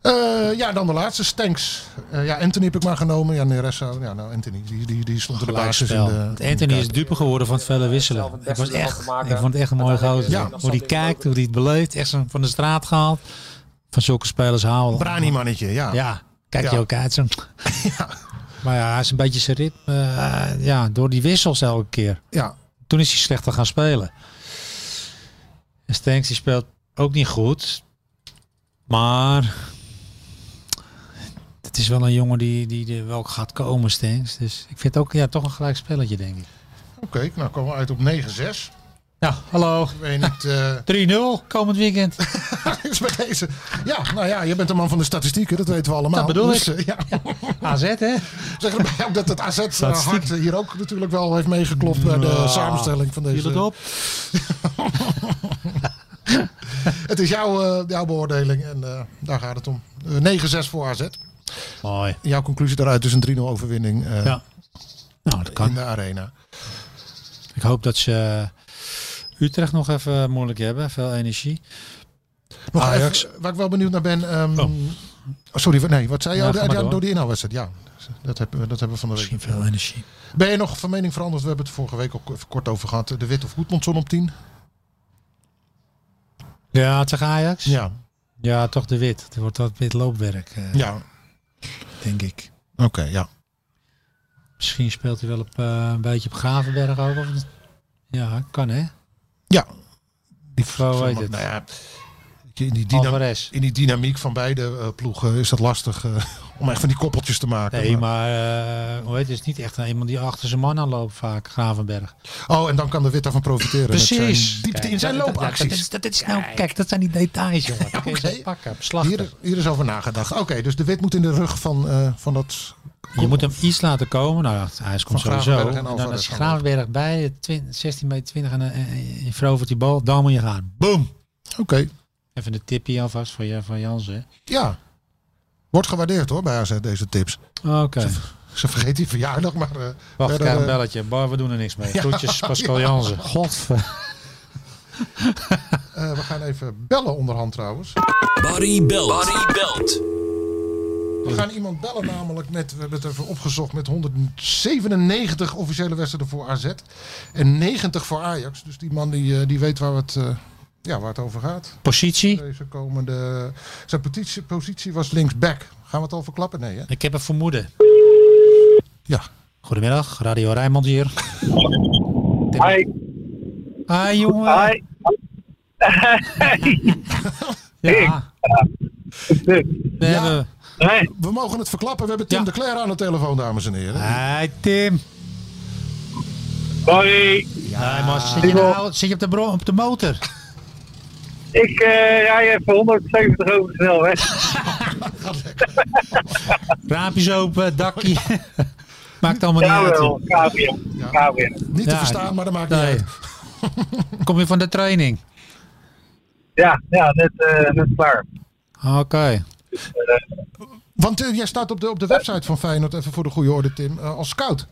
S5: Eh, ja, dan de laatste, Stanks. Eh, ja, Anthony heb ik maar genomen. Ja, Neressa. Ja, nou, Anthony, die, die, die stond er de basis in
S6: Gelijkspel.
S5: de...
S6: Want Anthony is dupe geworden van het felle wisselen. Ik, was echt, ik vond het echt een mooie gozer.
S5: Ja.
S6: Hoe die kijkt, hoe die het beleeft. Echt zo'n van de straat gehaald. Van zulke spelers houden. we.
S5: Brani-mannetje, ja.
S6: Ja, kijk
S5: Ja.
S6: je ook uit. Zo'n... Maar ja, hij is een beetje zijn ritme. eh, ja, door die wissels elke keer.
S5: ja.
S6: Toen is hij slechter gaan spelen. En Stanks die speelt ook niet goed. Maar het is wel een jongen die, die, die wel gaat komen, Stanks. Dus ik vind het ook ja, toch een gelijk spelletje, denk ik.
S5: Oké, nou komen we uit op 9-6.
S6: Ja, hallo.
S5: Ik weet niet. eh,
S6: 3-0 komend weekend.
S5: is bij deze. Ja, nou ja, je bent een man van de statistieken, dat weten we allemaal.
S6: Dat bedoel
S5: Dus,
S6: ik.
S5: eh, ja.
S6: AZ, hè?
S5: Zeg erbij ook dat het AZ eh, hart
S6: Statistieken.
S5: hier ook natuurlijk wel heeft meegeklopt bij de
S6: Ah.
S5: samenstelling van
S6: Viel
S5: deze.
S6: Nou, het op?
S5: Het is jouw, eh, jouw beoordeling en eh, daar gaat het om. Eh, 9-6 voor AZ.
S6: Mooi.
S5: Jouw conclusie daaruit is een 3-0 overwinning eh,
S6: Ja. Nou, dat
S5: in
S6: kan.
S5: de arena.
S6: Ik hoop dat ze eh, Utrecht nog even moeilijk hebben. Veel energie.
S5: Nog
S6: Ajax.
S5: even, waar ik wel benieuwd naar ben. ehm,
S6: Oh.
S5: Sorry, wat- nee, wat zei je?
S6: Ja,
S5: Oh,
S6: ga
S5: de-
S6: maar
S5: ja,
S6: door.
S5: door die inhaalwedstrijd, ja. Dat hebben, we- dat hebben we van de week.
S6: Misschien veel energie.
S5: Ben je nog van mening veranderd? We hebben het vorige week ook even kort over gehad. De Wit of Goedmondson op 10?
S6: Ja, tegen Ajax?
S5: Ja.
S6: Ja, toch de wit. Het wordt wat wit loopwerk, eh,
S5: Ja,
S6: denk ik.
S5: oké, ja.
S6: Misschien speelt hij wel op, eh, een beetje op Gravenberg ook. Of... Ja, kan hè?
S5: Ja. Die
S6: Zo
S5: zeg
S6: heet
S5: maar,
S6: het.
S5: Nou ja, in die, dynam-
S6: Alvarez.
S5: in die dynamiek van beide eh, ploegen is dat lastig eh, om echt van die koppeltjes te maken.
S6: Nee,
S5: Maar-
S6: maar eh, hoe heet het? Het is niet echt een- iemand die achter zijn man aanloopt vaak, Gravenberg.
S5: Oh, en dan kan de Wit daarvan profiteren. Met zijn diepte
S6: Kijk,
S5: in zijn
S6: dat- dat-
S5: loopacties.
S6: Dat, is- dat is nou, kijk, dat zijn die details, jongen. Dat kun je
S5: Oké.
S6: zo pakken, beslachten.
S5: hier, hier is over nagedacht. Oké, dus de Wit moet in de rug van, eh, van dat...
S6: Je moet hem iets laten komen. Nou, ja, hij is komt
S5: Van
S6: sowieso.
S5: Gravenberg en
S6: En dan
S5: Alvarez
S6: is
S5: gaan
S6: Gravenberg bij, eh, 20 16 meter 20 en eh, eh, je verovert die bal. Dan moet je gaan. Boom!
S5: Oké,
S6: Even een tipje alvast van, je- van Jansen.
S5: ja. Wordt gewaardeerd hoor bij AZ deze tips.
S6: Oké.
S5: Ze vergeet die verjaardag, maar... eh,
S6: Wacht, ik
S5: verder,
S6: krijg een
S5: eh,
S6: belletje. Bar, we doen er niks mee.
S5: Ja.
S6: Groetjes, Pascal Jansen. Godver.
S5: eh, we gaan even bellen onderhand trouwens.
S7: Barry belt. Barry belt.
S5: We gaan iemand bellen namelijk met, we hebben het even opgezocht, met 197 officiële wedstrijden voor AZ. En 90 voor Ajax. Dus die man die, eh, die weet waar het, eh, ja, waar het over gaat.
S6: Positie.
S5: Deze komende, zijn positie, positie was linksback. Gaan we het al verklappen? Nee hè?
S6: Ik heb een vermoeden.
S5: Ja.
S6: Goedemiddag, Radio Rijnmond hier. Hi. Hi jongen.
S8: Hi.
S6: Ja. We
S5: Ja.
S6: hebben...
S8: Hey,
S5: We mogen het verklappen. We hebben Tim
S6: Ja. Ah.
S5: de Cler aan de telefoon, dames en heren.
S6: Hi Tim.
S8: hoi.
S6: Hi,
S5: Ah.
S6: man. Zit je, nou, zit je op, de bro- op de motor?
S8: Ik eh rij even 170 over de snelweg.
S6: Raampjes open, dakje. Maakt allemaal niet uit.
S8: Jawel, KVM. KVM.
S5: Niet te
S6: Ja.
S5: verstaan, maar dat maakt
S6: Nee.
S5: niet uit.
S6: Kom je van de training?
S8: Ja, ja, net, eh, net klaar.
S6: Oké.
S5: Want eh, jij staat op de, op de website van Feyenoord, even voor de goede orde Tim, eh, als scout.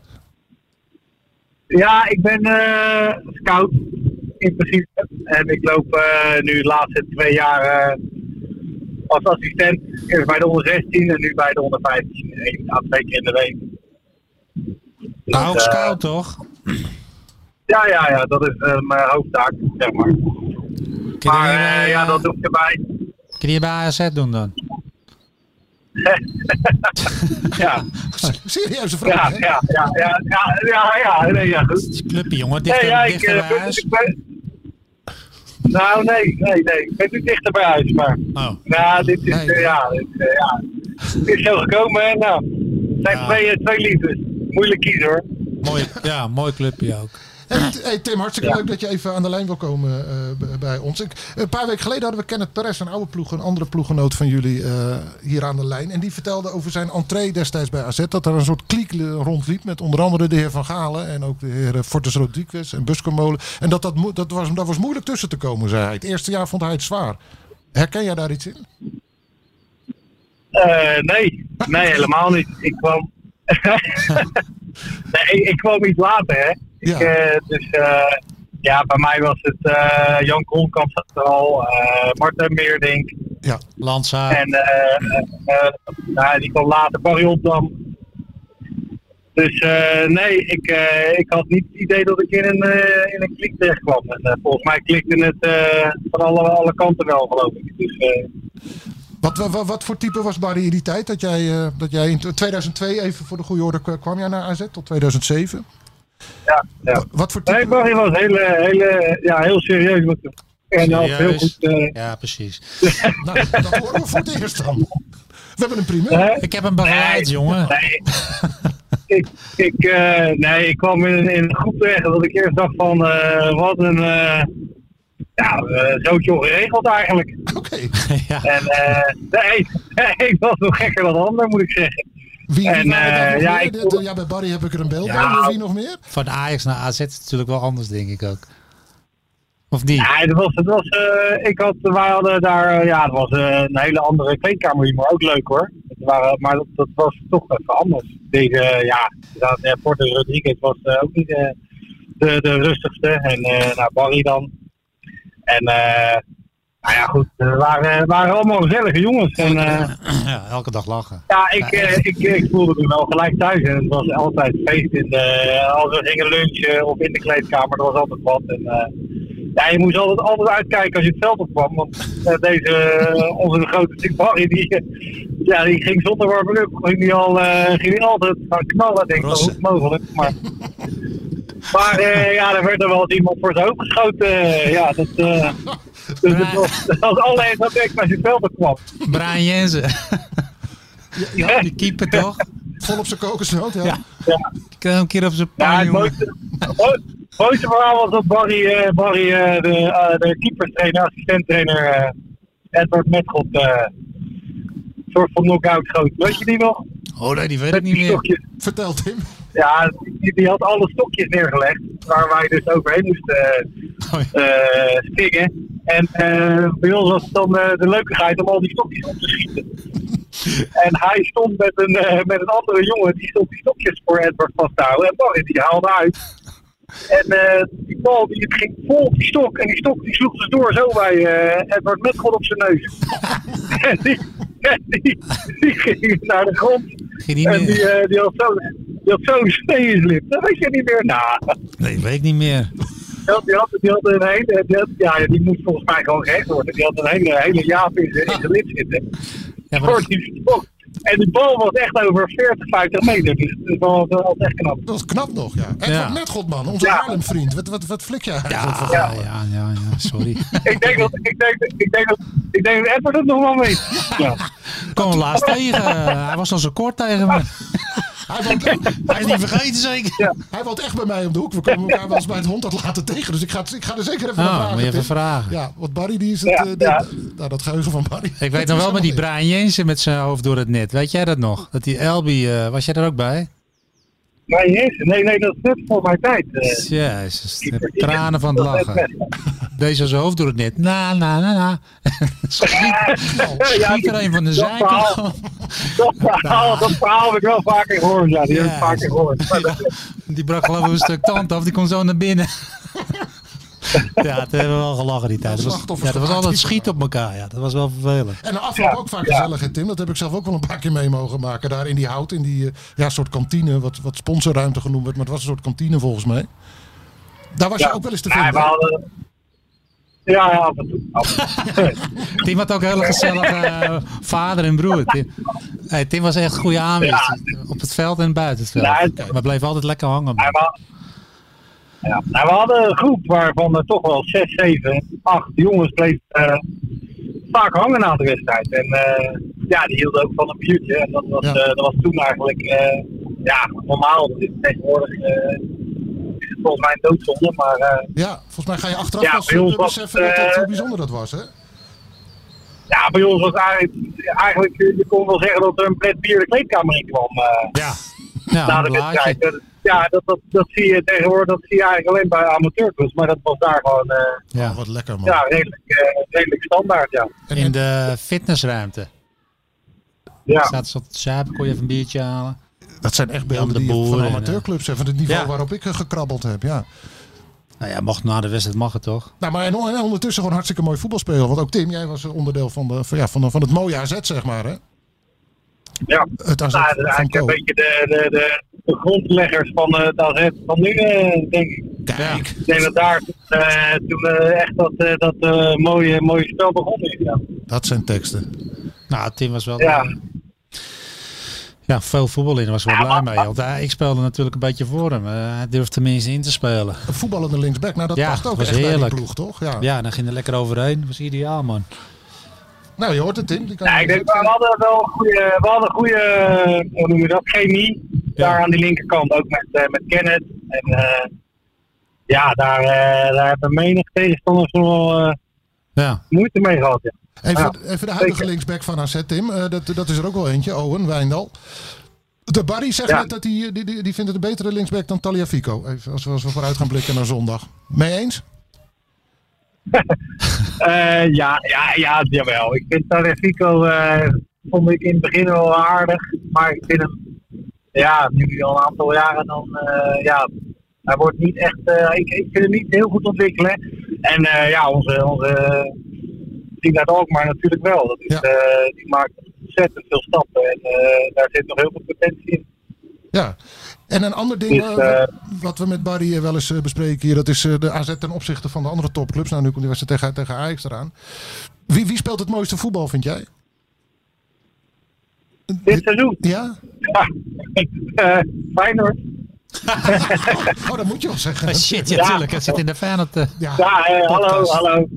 S8: Ja, ik ben eh scout in principe. En ik loop eh, nu de laatste twee jaar eh, als assistent. Eerst bij de onder 16 en nu bij de onder 15. Eén à twee keer in de week. Dus, eh,
S6: Nou, ook scout toch?
S8: Ja, ja, ja, dat is eh, mijn hoofdtaak, zeg maar.
S6: Kun
S8: Maar
S6: je,
S8: eh,
S6: bij,
S8: ja,
S6: eh,
S8: dat doe ik erbij.
S6: kun je bij AZ doen dan?
S8: Ja,
S5: Serieuze
S8: ja,
S5: vraag. hè?
S8: ja, ja, ja, ja, ja, ja, nee, ja, goed.
S6: Clubje jongen,
S8: Nee,
S6: dichter,
S8: ja, ik,
S6: dichter
S8: eh,
S6: bij
S8: ben-
S6: huis.
S8: ik ben- Nou, nee, nee, nee. Ik ben nu dichter bij huis, maar...
S6: Oh.
S8: Nou, dit is...
S5: Nee.
S8: eh, ja, dit, eh, ja. Het is zo gekomen, hè. Nou, het zijn
S6: Ja.
S8: twee, eh, twee liefdes. Moeilijk kiezen, hoor.
S6: Mooi, ja, mooi clubje ook.
S5: Hey, t- hey, Tim, hartstikke
S8: Ja.
S5: leuk dat je even aan de lijn wil komen eh, b- bij ons. Ik, een paar weken geleden hadden we Kenneth Perez, een oude ploeg, een andere ploeggenoot van jullie eh, hier aan de lijn. En die vertelde over zijn entree destijds bij AZ, dat er een soort kliek eh, rondliep met onder andere de heer Van Galen en ook de heer eh, Fortes Rodriguez en Buskermolen. En dat, dat, moe- dat, was, dat was moeilijk tussen te komen, zei hij. Het eerste jaar vond hij het zwaar. Herken jij daar iets in?
S8: Eh, nee, nee, helemaal niet. Ik kwam... nee, ik, ik kwam iets later, hè. Ik,
S5: Ja.
S8: eh, dus, eh, ja, bij mij was het eh, Jan Kronkamp zat er al, eh Marten Meerdink,
S5: Ja,
S6: Landzaar.
S8: En eh, eh, nou, die kwam later Barry Opdam. Dus eh, nee, ik, eh, ik had niet het idee dat ik in een, eh, in een klik terecht kwam. En, eh, volgens mij klikte het eh, van alle, alle kanten wel, geloof ik. Dus eh,
S5: Wat, wa- wa- wat, voor type was Barry in die tijd? Dat jij, eh, dat jij in 2002, even voor de goede orde, k- kwam jij naar AZ tot 2007?
S8: ja, ja.
S5: Wa- Wat voor type?
S8: Nee, Barry was heel, eh, heel, eh, ja, heel serieus. Wat, en had heel
S6: Serieus?
S8: goed... eh,
S6: Ja, precies.
S5: Nou, dat
S6: Eh,
S5: horen we voor het eerst dan. We hebben een primeur.
S8: hè?
S6: Ik heb hem begeleid, jongen.
S8: Nee. ik, ik, eh, nee, ik kwam in, een- in een groep terecht dat ik eerst dacht van eh, wat een eh ja, eh, zootje ongeregeld eigenlijk.
S5: Oké,
S6: ja.
S8: En eh, nee, ik was nog gekker dan de ander moet ik zeggen.
S5: wie, wie
S8: En,
S5: waren er
S8: eh,
S5: nog
S8: ja,
S5: meer?
S8: ik
S5: De-
S8: voel-
S5: de- ja, bij Barry heb ik er een beeld
S8: Ja.
S5: bij. Wie nog meer?
S6: Van Ajax naar AZ is het natuurlijk wel anders, denk ik ook. Of niet?
S8: Ja, het was, het was, eh, ik had, wij hadden daar, eh, ja, het was eh, een hele andere kleedkamer, maar ook leuk hoor. Het waren, maar dat, dat was toch even anders. Deze, eh, ja, inderdaad, eh, Porto Rodriguez was eh, ook niet eh, de, de rustigste. En eh nou, Barry dan. En, eh nou ja, goed, we waren, waren allemaal gezellige jongens. En, eh,
S6: Ja, elke dag lachen.
S8: ja, ik, eh, ik, ik voelde me wel gelijk thuis. En het was altijd feest. In de, als we gingen lunchen of in de kleedkamer, er was altijd wat. En, eh, ja, je moest altijd, altijd uitkijken als je het veld opkwam. Want eh, deze, eh, onze grote Dick Barry, die, eh, ja, die ging zonder warming up. Ging die, al, eh, ging die altijd gaan knallen, denk ik. Hoe is het mogelijk? Maar, maar eh, ja, er werd er wel eens iemand voor zijn hoofd geschoten. eh, ja, dat, eh, dus het was, dat was alleen dat ik als je het veld opkwam.
S6: Brian Jensen, die keeper toch?
S5: Vol op zijn kokosnoot, ja.
S6: Ja.
S8: Ja.
S6: Ik kreeg hem een keer op zijn
S8: Ja,
S6: pan,
S8: het
S6: jongen.
S8: mooiste, het mooiste verhaal was dat Barry, eh, Barry eh, de, eh, de keeperstrainer, assistenttrainer eh, Edward Metgod, eh, een soort van knock-out schoot. Weet je die nog?
S6: Oh nee, die weet ik niet
S8: Die
S6: meer.
S8: stokjes.
S5: Vertel Tim.
S8: Ja, die, die had alle stokjes neergelegd waar wij dus overheen moesten eh,
S6: Oh,
S8: eh, stikken. En eh, bij ons was het dan eh, de leukigheid om al die stokjes op te schieten. En hij stond met een, eh, met een andere jongen, die stond die stokjes voor Edward vast te houden. En Barry die haalde uit. En eh, die bal die het ging vol op die stok. En die stok die sloeg dus door zo bij eh Edward Metgod op zijn neus. en die, en die, die ging naar de grond.
S6: Ging die
S8: en die,
S6: meer?
S8: eh, die had zo'n die had zo'n snee in zijn lip. Dat weet je niet meer. Nou,
S6: Nee, weet ik niet meer.
S8: die had, die had, die had een hele, die had- ja, die moest volgens mij gewoon gehecht worden. Die had een hele, hele jaap in zijn in zijn lip zitten.
S6: Ja, maar
S8: Voor die stok. En die bal was echt over 40, 50 meter. Dus dat was, dat was echt knap.
S5: Dat is knap nog, ja. Edward
S6: Ja.
S5: Metgodman, onze
S8: Ja.
S5: Haarlemvriend. Wat, wat, wat flik jij eigenlijk?
S6: ja,
S5: voor-
S6: ja, ja, ja, ja, sorry.
S8: Ik denk dat, ik denk, ik denk dat, ik denk dat Edward het nog wel mee. Ja.
S6: Ik kwam hem laatst tegen. eh, Hij was al zo kort tegen me.
S5: Hij, woont,
S6: Hij is niet vergeten zeker.
S5: hij woont echt bij mij om de hoek. We komen elkaar wel eens bij het hond dat laten tegen. Dus ik ga, het- ik ga er zeker even
S6: Ah,
S5: naar vragen.
S6: moet je even
S5: Tim.
S6: vragen.
S5: Ja, want Barry die is het...
S8: Ja,
S5: eh, die-
S8: ja.
S5: nou, dat geheugen van Barry.
S6: Ik weet nog wel met die Brian Jensen met zijn hoofd door het net. Weet jij dat nog? Dat die Elby, eh, was jij daar ook bij?
S8: Maar jezus, nee, nee, dat is net voor mijn tijd. eh.
S6: Jezus, de tranen van het lachen. Deze zijn hoofd door het net. Na, na, na, na. Schiet,
S8: Ja,
S6: schiet er een van de
S8: dat verhaal.
S6: zijkant.
S8: Dat verhaal, dat verhaal heb ik wel vaker gehoord. Ja, die heb ik
S6: Ja.
S8: vaker gehoord. Maar dat-
S6: Die brak geloof ik een stuk tand af. Die kon zo naar binnen. Ja, het hebben we wel gelachen die tijd. Dat was, ja, dat was altijd schiet op elkaar. Ja, dat was wel vervelend.
S5: En de afloop ook vaak gezellig, hè, Tim. Dat heb ik zelf ook wel een paar keer mee mogen maken. Daar in die hout, in die eh, ja, soort kantine. Wat, wat sponsorruimte genoemd werd. Maar het was een soort kantine volgens mij. Daar was je ook wel eens te
S8: Ja,
S5: vinden.
S8: we hadden- ja, oh, ja, af en toe. Af en toe.
S6: Tim had ook een hele gezellige eh, vader en broer. Tim, hey, Tim was echt een goede aanwezig. Op het veld en buiten het veld.
S8: Ja, het-
S6: maar bleef altijd lekker hangen. man.
S8: Ja, maar- ja, nou, we hadden een groep waarvan er toch wel 6, 7, 8 jongens bleven eh, vaak hangen na de wedstrijd. En eh, ja, die hielden ook van een biertje. En dat was,
S5: Ja.
S8: eh, dat was toen eigenlijk eh, ja, normaal. Dat is Tegenwoordig eh, is het volgens mij een doodzonde. Maar eh,
S5: Ja, volgens mij ga je achteraf
S8: Ja,
S5: pas
S8: bij ons
S5: eh,
S8: was,
S5: beseffen dat, dat,
S8: eh,
S5: hoe bijzonder dat was, hè?
S8: ja, bij ons was eigenlijk, eigenlijk, eh, je kon wel zeggen dat er een pret bier de kleedkamer in kwam. eh.
S6: Ja, ja
S8: na de
S6: een blaadje.
S8: wedstrijd. Dat- Ja, dat, dat, dat zie je tegenwoordig dat zie je eigenlijk alleen bij amateurclubs. Maar dat was daar gewoon eh,
S6: Ja.
S5: Oh, wat lekker, man.
S8: ja, redelijk, eh, redelijk standaard. Ja.
S5: En-
S6: In
S5: en-
S6: de fitnessruimte.
S8: Ja.
S6: Zaten ze op te zuipen, kon je even een biertje halen.
S5: Dat zijn echt beelden
S6: de
S5: die
S6: boer
S5: van
S6: en, eh,
S5: amateurclubs hè, van het niveau
S6: ja.
S5: waarop ik eh, gekrabbeld heb. Ja.
S6: Nou ja, mocht na de wedstrijd mag het toch?
S5: Nou, maar en on- en ondertussen gewoon hartstikke mooi voetbalspelen. Want ook Tim, jij was eh, onderdeel van, de, van, ja, van, de- van het mooie AZ, zeg maar. Hè?
S8: Ja.
S5: Het AZ
S8: Nou, dat is
S5: van
S8: eigenlijk
S5: Co.
S8: een beetje de, de, de, de grondleggers van eh, het AZ van nu, eh, denk ik.
S5: Kijk,
S8: Ik denk dat daar eh, toen eh, echt dat, eh, dat eh, mooie, mooie spel begonnen is. Ja.
S5: dat zijn teksten.
S6: Nou, Tim was wel...
S8: Ja.
S6: Ja, veel voetbal in. Daar was ik wel blij
S8: maar-
S6: mee. Want hij- ik speelde natuurlijk een beetje voor hem. Eh, hij durfde tenminste in te spelen.
S5: Een voetballende linksback, nou dat
S6: Ja,
S5: past ook
S6: was
S5: echt bij
S6: heerlijk.
S5: die ploeg, toch? Ja.
S6: Ja, en dan ging hij lekker overheen. Dat was ideaal, man.
S5: Nou, je hoort het, Tim. Die kan
S8: Ja, ik denk, we hadden wel een goede, we hadden een goede, eh, hoe noem je dat, chemie. daar aan die linkerkant. Ook met, eh, met Kenneth. En eh, ja, daar, eh, daar hebben menig tegenstanders wel eh,
S6: Ja.
S8: moeite mee gehad. Ja.
S5: Even,
S8: Ja,
S5: even de huidige
S8: zeker.
S5: linksback van AZ, Tim. Eh, dat, dat is er ook wel eentje, Owen Wijndal. De Barry zegt
S8: Ja.
S5: net dat die, die, die, die vindt het een betere linksback dan Taliafico. Even als we, als we vooruit gaan blikken naar zondag. Mee eens?
S8: Eh, ja, ja, ja, jawel. Ik vind Tarifico eh vond ik in het begin wel aardig. Maar ik vind hem, ja, nu al een aantal jaren dan, eh, ja, hij wordt niet echt, eh, ik, ik vind hem niet heel goed ontwikkelen. En eh, ja, onze, onze team uit Alkmaar natuurlijk wel. Dat is,
S5: Ja.
S8: eh, die maakt ontzettend veel stappen en eh, daar zit nog heel veel potentie in.
S5: Ja. En een ander ding
S8: Dus,
S5: eh,
S8: eh,
S5: wat we met Barry eh, wel eens eh, bespreken hier, dat is eh, de AZ ten opzichte van de andere topclubs. Nou, nu komt die wedstrijd tegen, tegen Ajax eraan. Wie, wie speelt het mooiste voetbal, vind jij?
S8: Dit seizoen,
S5: Ja?
S8: ja, Eh, Feyenoord.
S5: Oh, dat moet je wel zeggen.
S6: Ah, Eh, Shit, ja,
S8: Ja.
S6: tuurlijk. Het zit in de fan op de...
S5: Ja,
S8: Ja, eh, hallo,
S6: podcast.
S8: hallo.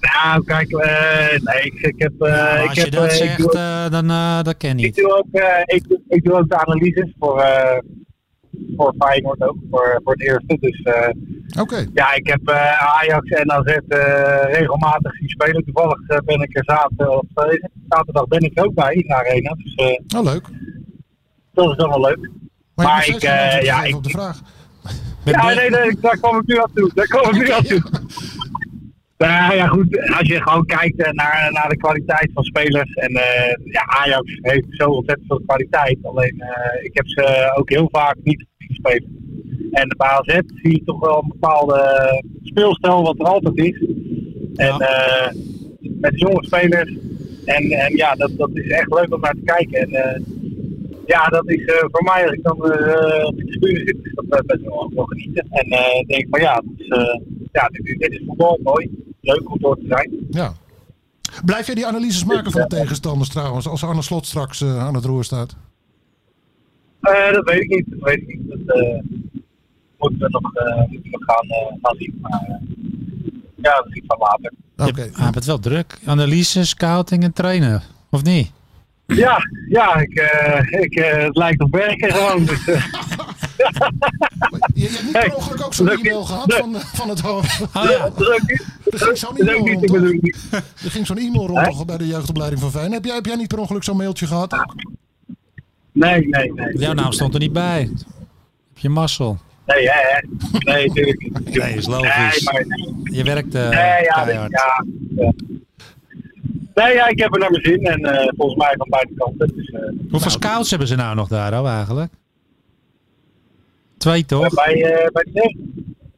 S8: Nou, kijk, eh, nee, ik, ik heb... eh,
S6: Maar
S8: ik
S6: Nou, als
S8: heb,
S6: je dat
S8: eh, ik
S6: zegt,
S8: doe,
S6: eh, dan eh, dat ken je
S8: ik,
S6: niet.
S8: doe ook, eh, ik, doe- ik doe ook de analyses voor, eh voor Feyenoord ook, voor, voor het eerste. Dus eh,
S5: oké.
S8: ja, ik heb eh, Ajax en AZ eh, regelmatig zien spelen. Toevallig eh, ben ik er zaterdag, of, eh, zaterdag ben ik er ook bij in de arena. Dus eh,
S5: Nou, leuk.
S8: dat is dan wel leuk.
S5: Maar,
S8: Maar
S5: je
S8: ik,
S5: hebt nog steeds geen antwoord
S8: eh, ja,
S5: gegeven
S8: ik-
S5: op de vraag.
S8: Ja, nee, nee, daar kwam ik nu aan toe. Daar kwam ik nu aan toe. Nou ja, ja, goed. Als je gewoon kijkt eh, naar, naar de kwaliteit van spelers. En eh, ja, Ajax heeft zo ontzettend veel kwaliteit. Alleen eh, ik heb ze ook heel vaak niet zien spelen. En bij AZ zie je toch wel een bepaalde speelstijl wat er altijd is. En eh, met jonge spelers. En, en ja, dat, dat is echt leuk om naar te kijken. En eh, ja, dat is eh, voor mij, als ik dan eh, op de tribune zit, is dat eh, best wel wel genieten. En eh, ik denk van ja, het is, eh, ja dit, dit is voetbal, mooi. Leuk om door te zijn.
S5: Ja. Blijf jij die analyses maken van de tegenstanders trouwens, als Arne Slot straks eh, aan het roer staat?
S8: Eh, dat weet ik niet, dat weet ik niet. Dat eh, moeten we nog, eh, moeten we gaan, eh, gaan zien. Maar eh, ja, dat is iets van later.
S5: Oké.
S6: Je hebt Ah, het wel druk. Analyse, scouting en trainen. Of niet?
S8: Ja, ja ik, eh, ik, eh, het lijkt op werken gewoon. Dus, eh,
S5: Je, je hebt niet per ongeluk ook zo'n
S8: leuk. Ah,
S5: e-mail gehad van, eh, van het hoofd. Er
S8: dat is ook niet,
S5: ging zo'n
S8: dat is ook
S5: e-mail
S8: niet
S5: rond.
S8: de
S5: toch?
S8: bedoeling.
S5: Er ging zo'n e-mail rond toch bij de jeugdopleiding van Fijn. Heb jij, heb jij niet per ongeluk zo'n mailtje gehad? ook?
S8: Nee, nee, nee.
S6: Jouw naam stond er niet bij. Heb je mazzel.
S8: Nee, hè, hè. Nee, natuurlijk niet.
S6: Nee, is logisch.
S8: Nee, maar nee.
S6: Je werkt eh
S8: Nee, ja, dit-
S6: keihard.
S8: ja, ja. Nee, ja, ik heb er naar mijn zin en eh, volgens mij van beide kanten. Dus, eh,
S6: Hoeveel scouts hebben ze nou nog daar oh, eigenlijk? Twee toch?
S8: bij, eh, bij, de eerste,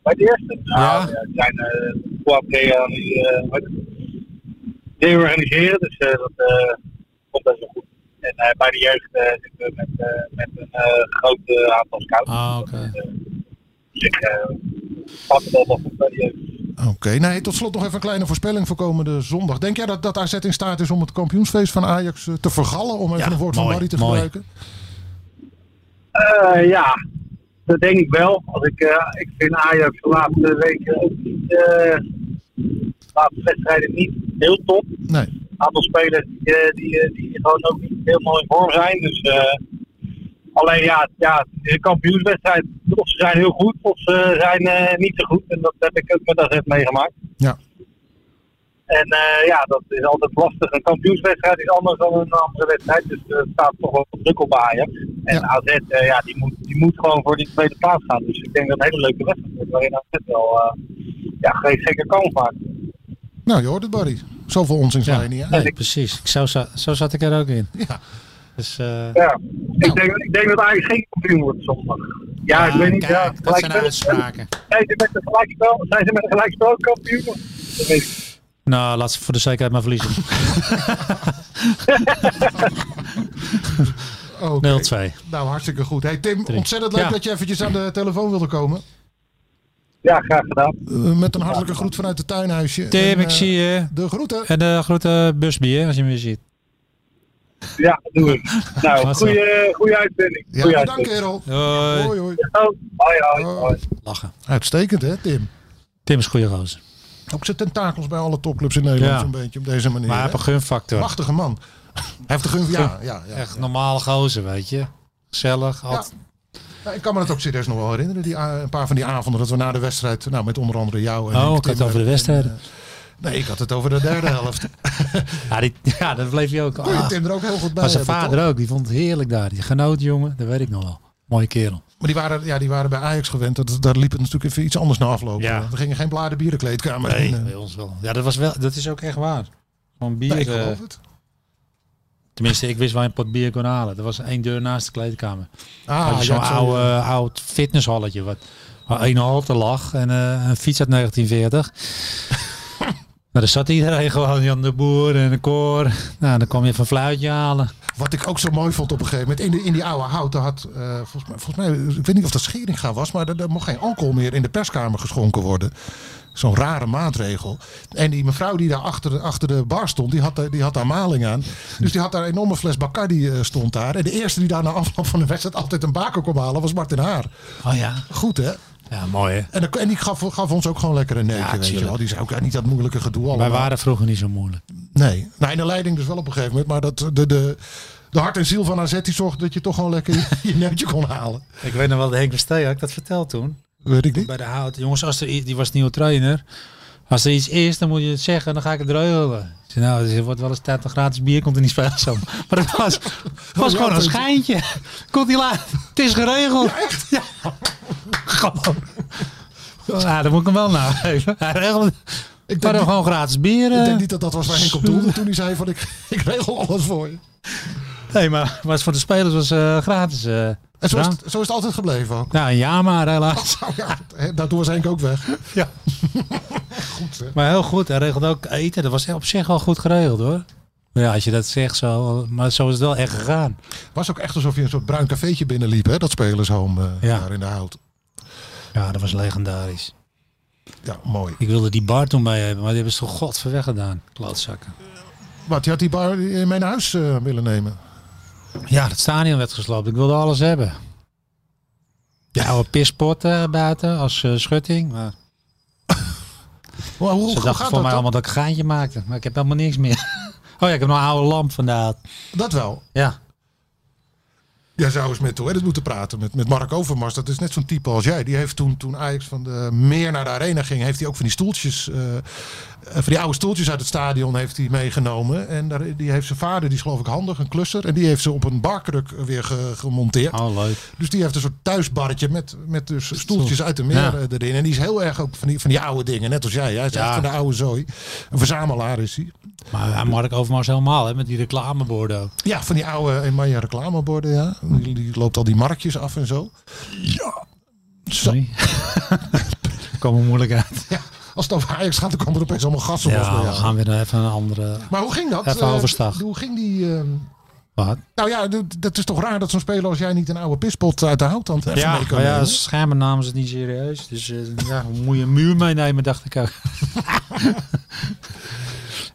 S8: bij de eerste, nou, ja. het zijn eh wat die, eh, die, eh, wat- die organiseren, dus eh, dat eh, komt best wel goed. En eh, bij de jeugd eh, zitten we met, eh, met een eh, groot eh, aantal scouts.
S6: Ah, oké.
S8: Dus ik eh, pak het al wel goed bij de jeugd.
S5: Oké, nee, tot slot nog even een kleine voorspelling voor komende zondag. Denk jij dat, dat AZ in staat is om het kampioensfeest van Ajax eh, te vergallen? Om even
S6: Ja,
S5: een woord van
S6: mooi,
S5: Barry te
S6: mooi.
S5: gebruiken?
S8: Eh, ja, dat denk ik wel. Als ik, eh, ik vind Ajax de laatste weken ook niet, eh, de laatste wedstrijden niet heel top. Een
S5: Nee.
S8: aantal spelers die, eh, die, eh, die gewoon ook niet helemaal in vorm zijn. Dus, eh, alleen ja, ja, het is een kampioenswedstrijd. Of ze zijn heel goed of ze zijn eh, niet zo goed. En dat heb ik ook met AZ meegemaakt.
S5: Ja.
S8: En eh, ja, dat is altijd lastig. Een kampioenswedstrijd is anders dan een andere wedstrijd. Dus eh, er staat toch wel druk op Ajax. En
S5: Ja.
S8: AZ, eh, ja, die moet, die moet gewoon voor die tweede plaats gaan. Dus ik denk dat het een hele leuke wedstrijd wordt. Waarin AZ wel eh, ja, geen zeker kan maken.
S5: Nou, je hoort het, Barry. Zoveel onzin zijn
S6: Ja.
S5: wij niet. hè?
S6: Nee, precies. Ik, zo, za- zo zat ik er ook in.
S5: Ja.
S6: Dus, eh,
S8: Ja. Ik, denk, ik denk dat Ajax geen kampioen wordt zondag. Ja, ik
S6: ah,
S8: weet niet. ja,
S6: kijk, dat zijn
S8: gelijkspel.
S6: uitspraken.
S8: Zijn ze met een gelijkspel, zijn ze met een gelijkspel kampioen? Dat weet ik niet.
S6: Nou, laat ze voor de zekerheid maar verliezen. 0-2.
S5: Oké. Nou, hartstikke goed. Hey, Tim, ontzettend leuk
S6: Ja.
S5: dat je eventjes aan de telefoon wilde komen.
S8: Ja, graag gedaan.
S5: Eh, met een hartelijke groet vanuit het tuinhuisje. En,
S6: Tim, ik
S5: eh,
S6: zie je. Eh,
S5: De groeten.
S6: En de grote busby, hè, als je me weer ziet.
S8: Ja, doe ik. Nou,
S6: Wat zo.
S8: goede, goede uitzending.
S5: Ja,
S8: Goeie
S5: bedankt,
S8: uitzending.
S5: kerel.
S6: Hoi.
S5: Hoi, hoi.
S8: Oh, hoi, hoi, hoi.
S6: Lachen.
S5: Uitstekend, hè, Tim?
S6: Tim is goede roze.
S5: Ook zijn tentakels bij alle topclubs in Nederland,
S6: Ja.
S5: zo'n beetje op deze manier.
S6: Maar hij
S5: hè?
S6: heeft een gunfactor.
S5: Machtige man. Hij heeft de gun. Ja, ja, ja.
S6: Echt normaal gozer, weet je. Gezellig. Altijd.
S5: Ja, Nou, ik kan me dat ook serieus nog wel herinneren. Die, a- een paar van die avonden dat we na de wedstrijd, nou met onder andere jou en
S6: Oh,
S5: ik,
S6: ik had het
S5: Tim,
S6: over de Ah.
S5: en-
S6: wedstrijden.
S5: Nee, ik had het over de derde helft.
S6: Ja, die, ja dat bleef je ook.
S5: Kon je
S6: Ah,
S5: Tim er ook heel goed bij
S6: maar zijn
S5: hebben, toch?
S6: vader ook, die vond het heerlijk daar. Die genoot, jongen, dat weet ik nog wel. Mooie kerel.
S5: Maar die waren, ja, die waren bij Ajax gewend. Dat, daar liep het natuurlijk even iets anders na aflopen.
S6: Ja.
S5: Er gingen geen bladen bier de kleedkamer in. eh.
S6: bij ons wel. Ja, dat, was wel, dat is ook echt waar. Van bier,
S5: Nee, ik
S6: eh,
S5: geloof het.
S6: tenminste, ik wist waar je een pot bier kon halen. Dat was één deur naast de kleedkamer.
S5: Ah,
S6: Had je zo'n
S5: ja, zo-
S6: oude, eh, oud fitnesshalletje wat, waar één halte lag en eh, een fiets uit 1940. nou, daar zat iedereen gewoon, Jan de Boer en de koor. Nou, dan kwam je even een fluitje halen.
S5: Wat ik ook zo mooi vond op een gegeven moment. In, de, in die oude houten had, eh, volgens, mij, volgens mij, ik weet niet of dat Scheringa was, maar er, er mocht geen alcohol meer in de perskamer geschonken worden. Zo'n rare maatregel. En die mevrouw die daar achter, achter de bar stond, die had, daar- die had daar maling aan. Dus die had daar een enorme fles Bacardi eh, stond daar. En de eerste die daar na afloop van de wedstrijd altijd een baker kon halen was Martin Haar.
S6: Oh ja.
S5: Goed hè?
S6: Ja, mooi hè.
S5: En, dan- en die gaf, gaf ons ook gewoon lekker een neukje, weet je
S6: tuurlijk.
S5: wel. Die zei ook ja, niet dat moeilijke gedoe allemaal.
S6: Wij waren vroeger niet zo moeilijk.
S5: Nee. Nou, in de leiding dus wel op een gegeven moment. Maar dat, de, de, de hart en ziel van AZ die zorgde dat je toch gewoon lekker je- je neutje kon halen.
S6: Ik weet nog wel, de Henk Verstee had ik dat verteld toen.
S5: Weet ik niet.
S6: Bij de hout. Jongens, als er, i- die was nieuwe trainer. Als er iets is, dan moet je het zeggen. Dan ga ik het reugelen. Ik zei, nou, er wordt wel eens tijd dat gratis bier komt in die spel. zo. Maar het was, het was gewoon een schijntje. Komt hij laat. Het is geregeld. Ja, echt? Ja. Gewoon. Ja, dan moet ik hem wel nageven. Hij regelde. Ik
S5: denk
S6: denk
S5: niet-
S6: gewoon gratis bier.
S5: Ik
S6: eh.
S5: denk niet dat dat was waar Henk op doelde toen hij zei van ik, ik regel alles voor je.
S6: Nee, maar, maar het voor de spelers was eh, gratis. eh.
S5: En zo is,
S6: drank.
S5: het, zo is het altijd gebleven ook.
S6: Nou, een jaar maar helaas.
S5: Nou ja, hè, daardoor was Henk ook weg.
S6: Ja.
S5: Goed hè.
S6: Maar heel goed. Hij regelde ook eten. Dat was op zich wel goed geregeld hoor. Maar ja, als je dat zegt zo. Maar zo is het wel echt gegaan.
S5: Was ook echt alsof je een soort bruin cafeetje binnenliep hè, dat spelershome eh,
S6: Ja.
S5: daar in de hout.
S6: Ja, dat was legendarisch.
S5: Ja, mooi.
S6: Ik wilde die bar toen bij hebben, maar die hebben ze toch god weg gedaan. Klootzakken.
S5: Wat, je had die bar in mijn huis eh, willen nemen.
S6: Ja, het stadion werd gesloopt. Ik wilde alles hebben. Ja, oude pispot eh, buiten als eh, schutting. Maar
S5: Hoe, hoe,
S6: ze
S5: hoe
S6: dachten
S5: gaat
S6: voor
S5: dat?
S6: mij
S5: dan?
S6: allemaal dat ik een geintje maakte. Maar ik heb helemaal niks meer. Oh ja, ik heb nog een oude lamp vandaag.
S5: Dat wel.
S6: Ja.
S5: Jij zou eens met Toeredis moeten praten, met, met Mark Overmars. Dat is net zo'n type als jij. Die heeft toen, toen Ajax van de meer naar de arena ging, heeft hij ook van die stoeltjes, eh, eh, van die oude stoeltjes uit het stadion heeft hij meegenomen. En daar, die heeft zijn vader, die is geloof ik handig, een klusser. En die heeft ze op een barkruk weer ge- gemonteerd.
S6: Oh, leuk.
S5: Dus die heeft een soort thuisbarretje met, met dus stoeltjes uit de meer
S6: Ja.
S5: eh, erin. En die is heel erg ook van die, van die oude dingen, net als jij. Hij is
S6: Ja.
S5: echt van de oude zooi. Een verzamelaar is hij.
S6: Maar ja, Mark Overmars helemaal, hè, met die reclameborden ook.
S5: Ja, van die oude Emanja reclameborden, ja. Die, die loopt al die markjes af en zo.
S6: Sorry. Kom er moeilijk uit.
S5: Ja, als het over Ajax gaat, dan kwam er opeens allemaal gas op. als bij
S6: Ja, we
S5: jou.
S6: gaan weer naar even een andere.
S5: Maar hoe ging dat?
S6: Even
S5: Eh,
S6: overstag.
S5: Hoe ging die... eh,
S6: Wat?
S5: nou ja, d- dat is toch raar dat zo'n speler als jij niet een oude pispot uit de houtand even
S6: Ja,
S5: mee kan
S6: maar ja,
S5: nemen?
S6: schermen namen ze het niet serieus. Dus eh, ja, moet je een muur meenemen, dacht ik ook.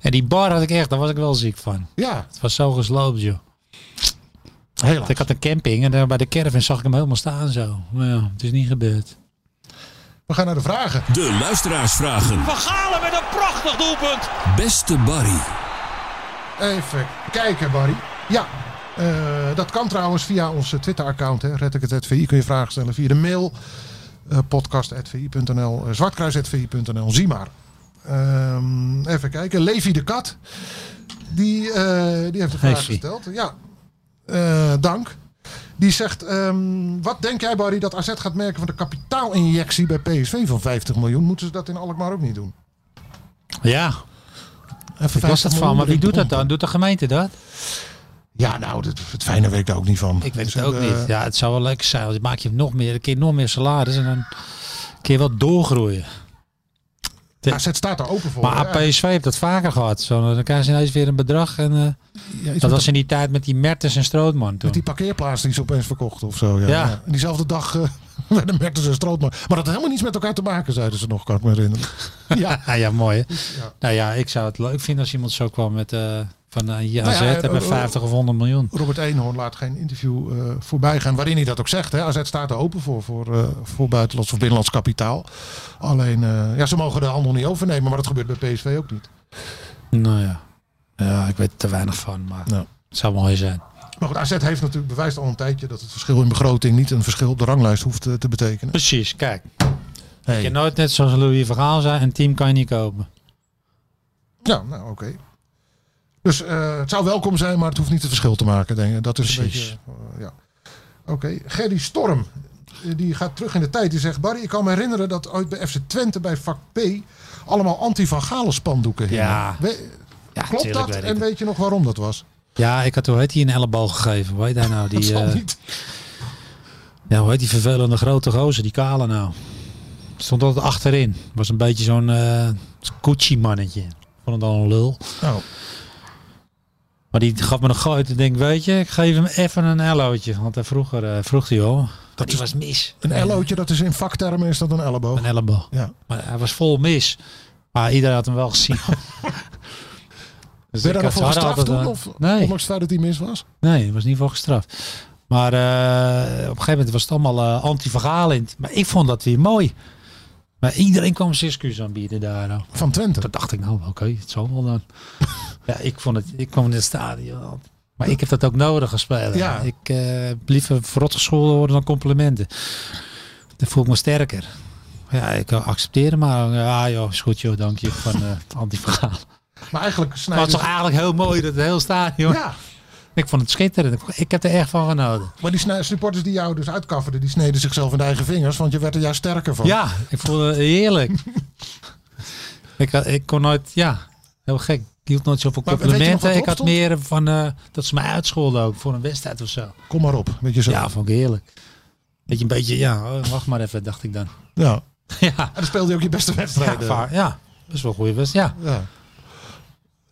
S6: en die bar had ik echt, daar was ik wel ziek van.
S5: Ja,
S6: Het was zo gesloopt, joh.
S5: helaas.
S6: Ik had een camping en daar bij de caravan zag ik hem helemaal staan zo. Maar ja, het is niet gebeurd.
S5: We gaan naar de vragen.
S7: De luisteraarsvragen.
S3: Van Galen met een prachtig doelpunt.
S7: Beste Barry.
S5: Even kijken, Barry. Ja, eh, dat kan trouwens via onze Twitter-account. hè. Red ik het VI. Kun je vragen stellen via de mail. eh podcast.vi.nl, eh, zwartkruis.vi.nl. Zie maar. Ehm, even kijken. Levi de Kat. Die, eh, die heeft een vraag
S6: Levi.
S5: gesteld. Ja, Eh, dank. Die zegt, ehm, wat denk jij Barry dat AZ gaat merken van de kapitaalinjectie bij PSV van 50 miljoen? Moeten ze dat in Alkmaar ook niet doen?
S6: Ja,
S5: Even
S6: ik was
S5: 50
S6: dat van. Maar wie
S5: miljoen
S6: doet dat
S5: erin
S6: dan? Doet de gemeente dat?
S5: Ja, nou, dat, het fijne weet ik daar ook niet van.
S6: Ik weet
S5: Dus,
S6: het ook
S5: eh,
S6: niet. Ja, het zou wel lekker zijn. Want dan maak je nog meer, dan kun je nog meer salaris en dan kun je wel doorgroeien.
S5: eh, AZ staat daar open voor.
S6: Maar
S5: hè?
S6: APSV heeft dat vaker gehad. Zo, dan krijgen ze ineens weer een bedrag. En, eh,
S5: Ja, iets
S6: dat
S5: met
S6: was in die tijd met die Mertens en Strootman toen.
S5: die parkeerplaats die ze opeens verkocht of zo. Ja.
S6: Ja.
S5: Ja. En diezelfde dag eh werden Mertens en Strootman. Maar dat had helemaal niets met elkaar te maken, zeiden ze nog, kan ik me herinneren. ja.
S6: Ah, ja, mooi hè.
S5: Ja.
S6: Nou ja, ik zou het leuk vinden als iemand zo kwam met eh, van eh je
S5: Nou
S6: AZ
S5: ja, eh,
S6: met
S5: eh,
S6: 50 of 100 miljoen.
S5: Robert Eenhoorn laat geen interview eh, voorbij gaan waarin hij dat ook zegt. Hè. AZ staat er open voor, voor, eh, voor buitenlands of binnenlands kapitaal. Alleen, eh, ja, ze mogen de handel niet overnemen, maar dat gebeurt bij PSV ook niet.
S6: Nou ja. Ja, ik weet er te weinig van, maar
S5: Nou.
S6: het zou mooi zijn.
S5: Maar goed, AZ heeft natuurlijk bewijst al een tijdje dat het verschil in begroting niet een verschil op de ranglijst hoeft eh, te betekenen.
S6: Precies, kijk.
S5: Hey.
S6: Je kan nooit net zoals Louis Vergaal zijn, een team kan je niet kopen.
S5: Ja, nou oké. Dus eh, het zou welkom zijn, maar het hoeft niet het verschil te maken. Denk ik. Dat is een
S6: Precies.
S5: beetje. eh, ja. Oké, Gerry Storm. eh, Die gaat terug in de tijd. Die zegt: Barry, ik kan me herinneren dat ooit bij FC Twente bij vak P. allemaal anti-van Galen spandoeken hingen.
S6: Ja.
S5: We-
S6: Ja,
S5: klopt
S6: tuurlijk
S5: dat?
S6: weet ik
S5: En
S6: het.
S5: weet je nog waarom dat was?
S6: Ja, ik had hoe heet die een elleboog gegeven. Hoe heet hij nou?
S5: dat
S6: Die,
S5: zal
S6: eh,
S5: niet.
S6: ja, hoe heet die vervelende grote gozer, die kale nou. Stond altijd achterin. Was een beetje zo'n eh Gucci mannetje. Vond het al een lul.
S5: Oh,
S6: Maar die gaf me een gooi. Ik denk, weet je, ik geef hem even een ellootje. Want hij vroeger eh, vroeg hij al. Dat die was mis.
S5: een ellootje, dat is in vaktermen is dat een elleboog.
S6: Een elleboog.
S5: Ja.
S6: Maar hij was vol mis. Maar iedereen had hem wel gezien.
S5: Ben je
S6: dus
S5: daar nog
S6: had-
S5: voor
S6: ze hadden
S5: gestraft toen?
S6: altijd
S5: Of,
S6: wel- Nee,
S5: Ondanks het feit dat hij mis was?
S6: nee, hij was niet voor gestraft. Maar eh, op een gegeven moment was het allemaal eh anti-verhalend. Maar ik vond dat weer mooi. Maar iedereen kwam zijn excuus aanbieden daar. nou.
S5: Van Twente.
S6: Toen dacht ik, nou oké, het zal wel dan. ja, ik, vond het, ik kwam in het stadion. Maar ik heb dat ook nodig als speler.
S5: Ja.
S6: Ik eh, heb liever verrot gescholden worden dan complimenten. Dan voel ik me sterker. Ja, ik kan accepteren, maar ja, joh, is goed joh, dank je van eh het anti-verhaal.
S5: Maar eigenlijk
S6: Maar het
S5: snijden
S6: is toch
S5: ze-
S6: eigenlijk heel mooi dat het heel stadion.
S5: dus- Ja,
S6: Ik vond het schitterend. Ik- Ik heb er echt van genoten.
S5: maar die snij- supporters die jou dus uitkafferden, die sneden zichzelf in de eigen vingers, want je werd er juist sterker van.
S6: Ja, ik voelde het heerlijk. ik, had- ik kon nooit, ja, heel gek. Ik hield nooit zoveel
S5: Maar weet je nog wat
S6: complimenten. Ik
S5: erop
S6: had
S5: stond?
S6: meer van eh, dat ze mij uitscholden ook voor een wedstrijd of zo.
S5: Kom maar op, weet je zo.
S6: Ja, vond ik heerlijk. Weet je, een beetje, ja, oh, wacht maar even, dacht ik dan.
S5: Ja.
S6: ja,
S5: En dan speelde je ook je beste
S6: ja,
S5: wedstrijden.
S6: vaar- ja, dat is wel een goede wedstrijd. Ja,
S5: Ja.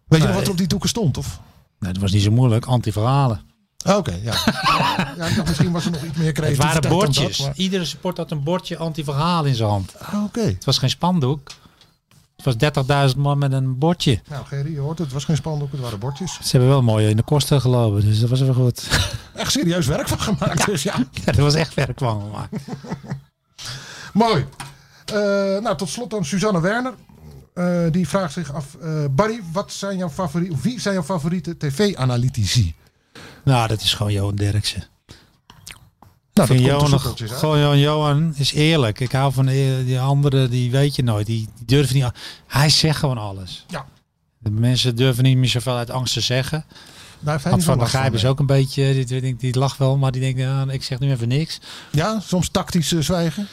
S5: Weet je nog
S6: Nee.
S5: wat er op die doeken stond? Of?
S6: nee, dat was niet zo moeilijk. Anti-verhalen.
S5: Ah, Oké, ja. ja. ik dacht, misschien was er nog iets meer
S6: Het
S5: creativiteit
S6: waren
S5: dan dat,
S6: bordjes.
S5: maar-
S6: Iedere support had een bordje anti-verhaal in zijn hand.
S5: Ah, Oké.
S6: Het was geen spandoek. Het was 30.000 man met een bordje.
S5: Nou, Gerry, je hoort het. Het was geen spandoek, het waren bordjes.
S6: Ze hebben wel mooi in de kosten gelopen, dus dat was wel goed.
S5: Echt serieus werk van gemaakt, dus ja.
S6: Ja, dat was echt werk van gemaakt.
S5: Mooi. Eh, nou, tot slot dan Suzanne Werner. Eh, die vraagt zich af, eh, Barry, wat zijn jouw favori- of wie zijn jouw favoriete tv-analytici?
S6: Nou, dat is gewoon Johan Derksen.
S5: Nou,
S6: Ik vind
S5: er
S6: Johan,
S5: zo
S6: nog-
S5: koeltjes uit.
S6: gewoon Johan, Johan is eerlijk. Ik hou van eer- die anderen, die weet je nooit. Die, die durven niet. a- Hij zegt gewoon alles.
S5: Ja.
S6: De mensen durven niet meer zoveel uit angst te zeggen.
S5: Daar heeft hij
S6: Want
S5: niet
S6: van
S5: last
S6: Begrijp is
S5: nee.
S6: ook een beetje, die, die, die, die lacht wel, maar die denkt, nou, ik zeg nu even niks.
S5: Ja, soms tactisch eh, zwijgen.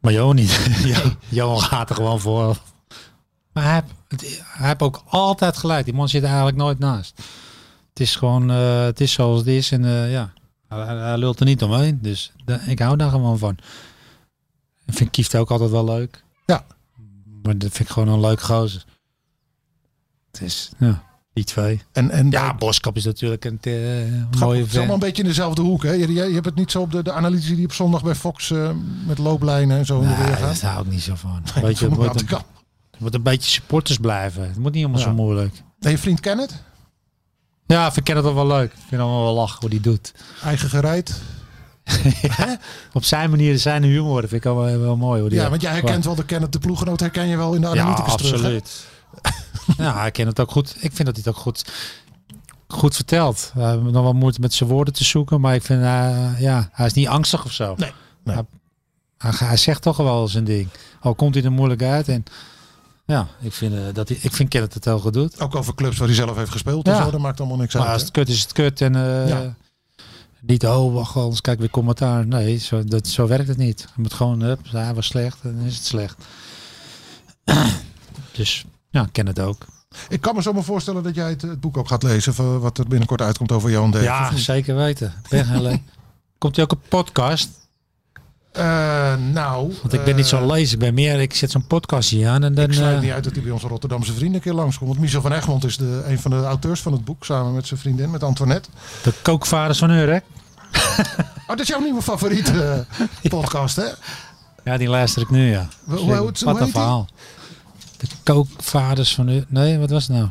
S6: Maar Johan niet. Jo- Johan gaat er gewoon voor. Maar hij, heeft- het- hij heeft ook altijd gelijk. Die man zit er eigenlijk nooit naast. Het is gewoon, eh, het is zoals het is. En eh, ja, hij, hij- hij lult er niet omheen. Dus da- ik hou daar gewoon van. Ik vind Kieft ook altijd wel leuk.
S5: Ja.
S6: Maar dat vind ik gewoon een leuk gozer. Het is, ja, die twee.
S5: En, en
S6: Ja, Boskap is natuurlijk een eh, mooie
S5: Het is allemaal
S6: vent.
S5: een beetje in dezelfde hoek. Hè? Je, je, je hebt het niet zo op de, de analyse die op zondag bij Fox eh, met looplijnen en zo heen en
S6: Nee,
S5: weer
S6: daar
S5: gaat.
S6: hou ik niet zo van. Weet je, het
S5: Van
S6: wordt een,
S5: Waterkamp.
S6: het wordt een beetje supporters blijven. Het moet niet allemaal
S5: Ja.
S6: zo moeilijk.
S5: En je vriend Kenneth,
S6: Ja, ik vind ik dat wel leuk. Ik vind het wel lach hoe die doet.
S5: eigen gereid.
S6: Op zijn manier, zijn humor, dat vind ik wel, wel mooi. Hoe die
S5: Ja,
S6: dat-
S5: want jij herkent wel de Kenneth, de ploeggenoot herken je wel in de
S6: Ja,
S5: analyticus terug. hè?
S6: absoluut. ja, hij kent het ook goed. Ik vind dat hij het ook goed, goed vertelt. We hebben nog wel moeite met zijn woorden te zoeken, maar ik vind, eh, ja, hij is niet angstig of zo.
S5: Nee, nee.
S6: Hij, hij- hij zegt toch wel zijn ding. Al komt hij er moeilijk uit. En, ja, ik vind, eh, dat hij, ik vind Kenneth het heel goed doet.
S5: Ook over clubs waar hij zelf heeft gespeeld en
S6: Ja.
S5: zo, dat maakt allemaal niks
S6: Maar
S5: uit.
S6: als
S5: hè?
S6: het kut is, het kut. En eh,
S5: Ja.
S6: niet, oh, wacht, anders kijk ik weer commentaar. Nee, zo, dat, zo werkt het niet. Je moet gewoon, hup, hij was slecht, dan is het slecht. dus, ja, ik ken het ook.
S5: Ik kan me zomaar voorstellen dat jij het, het boek ook gaat lezen, van wat er binnenkort uitkomt over Johan Derksen. of
S6: ja,
S5: niet?
S6: zeker weten. Ik ben geen le- Komt hij ook een podcast?
S5: Eh, nou,
S6: Want ik ben niet zo lezen. Ik ben meer, ik zet zo'n podcast hier aan en dan...
S5: Ik sluit
S6: eh,
S5: niet uit dat hij bij onze Rotterdamse vrienden een keer langskomt. Want Michel van Egmond is de, een van de auteurs van het boek, samen met zijn vriendin, met Antoinette.
S6: de kookvaders van Urk.
S5: Oh, dat is jouw nieuwe favoriete eh, podcast, hè?
S6: Ja, die luister ik nu, ja.
S5: Hoe- hoe- hoe- hoe
S6: wat
S5: heet
S6: een
S5: die?
S6: verhaal. De kookvaders van Urk. Nee, wat was het nou?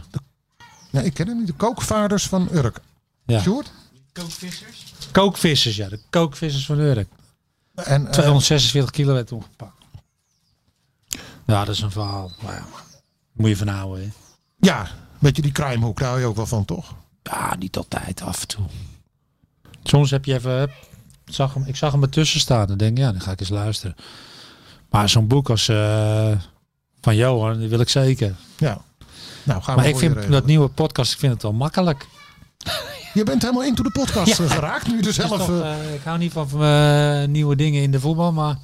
S5: Nee, ik ken hem niet. De kookvaders van Urk.
S6: Ja.
S5: Sjoerd?
S6: Kookvissers, ja. De kookvissers van Urk.
S5: En, eh,
S6: 246 kilo werd toen gepakt. Ja, dat is een verhaal. Maar ja, moet je van houden. Hè?
S5: ja, weet je, die crimehoek, daar hou je ook wel van, toch?
S6: Ja, niet Ah, altijd, af en toe. Soms heb je even. hup, Zag hem, ik zag hem ertussen staan. Dan denk ik, ja, dan ga ik eens luisteren. Maar zo'n boek als eh, van Johan, die wil ik zeker.
S5: Ja. Nou, gaan we
S6: Maar ik
S5: voor je
S6: vind
S5: regelen.
S6: dat nieuwe podcast, ik vind het wel makkelijk.
S5: Je bent helemaal into de podcast eh, geraakt nu dus
S6: Het is
S5: zelf.
S6: toch,
S5: eh,
S6: eh, ik hou niet van eh, nieuwe dingen in de voetbal, maar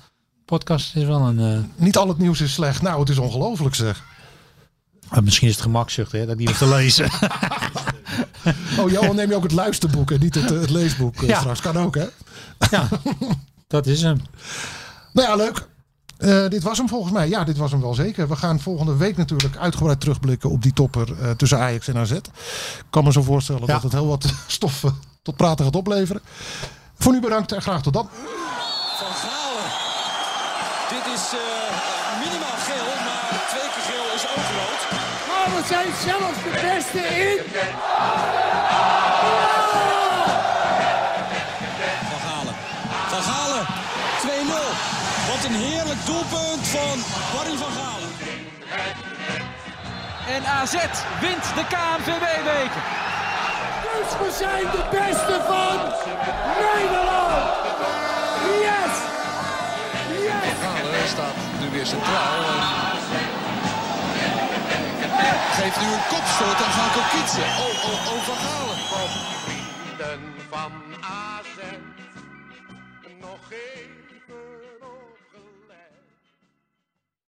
S6: podcast is wel een. eh,
S5: niet al het nieuws is slecht. Nou, het is ongelooflijk zeg.
S6: maar Ah, misschien is het gemakzucht, hè, dat ik niet hoef te lezen.
S5: Oh, Johan, neem je ook het luisterboek en niet het, eh, het leesboek eh,
S6: Ja.
S5: straks. Kan ook, hè?
S6: ja, dat is hem.
S5: Nou ja, leuk. Eh, dit was hem volgens mij. Ja, dit was hem wel zeker. We gaan volgende week natuurlijk uitgebreid terugblikken op die topper eh, tussen Ajax en AZ. Ik kan me zo voorstellen dat het heel wat stof eh, tot praten gaat opleveren. Voor nu bedankt en graag tot dan.
S1: Van Galen. Dit is eh, minimaal geel, maar twee keer geel is ook rood.
S2: Maar we zijn zelfs de beste in.
S1: Van Galen. Van Galen. 2-0. Wat een heerlijk doelpunt van Barry van Galen.
S3: En AZ wint de KNVB-beker.
S2: Dus we zijn de beste van Nederland. Yes. Yes.
S4: Galen staat nu weer centraal. en Geeft nu een kopstoot aan Gaan Kokitsen. Oh, oh, oh, Van Galen.
S9: vrienden van AZ nog even.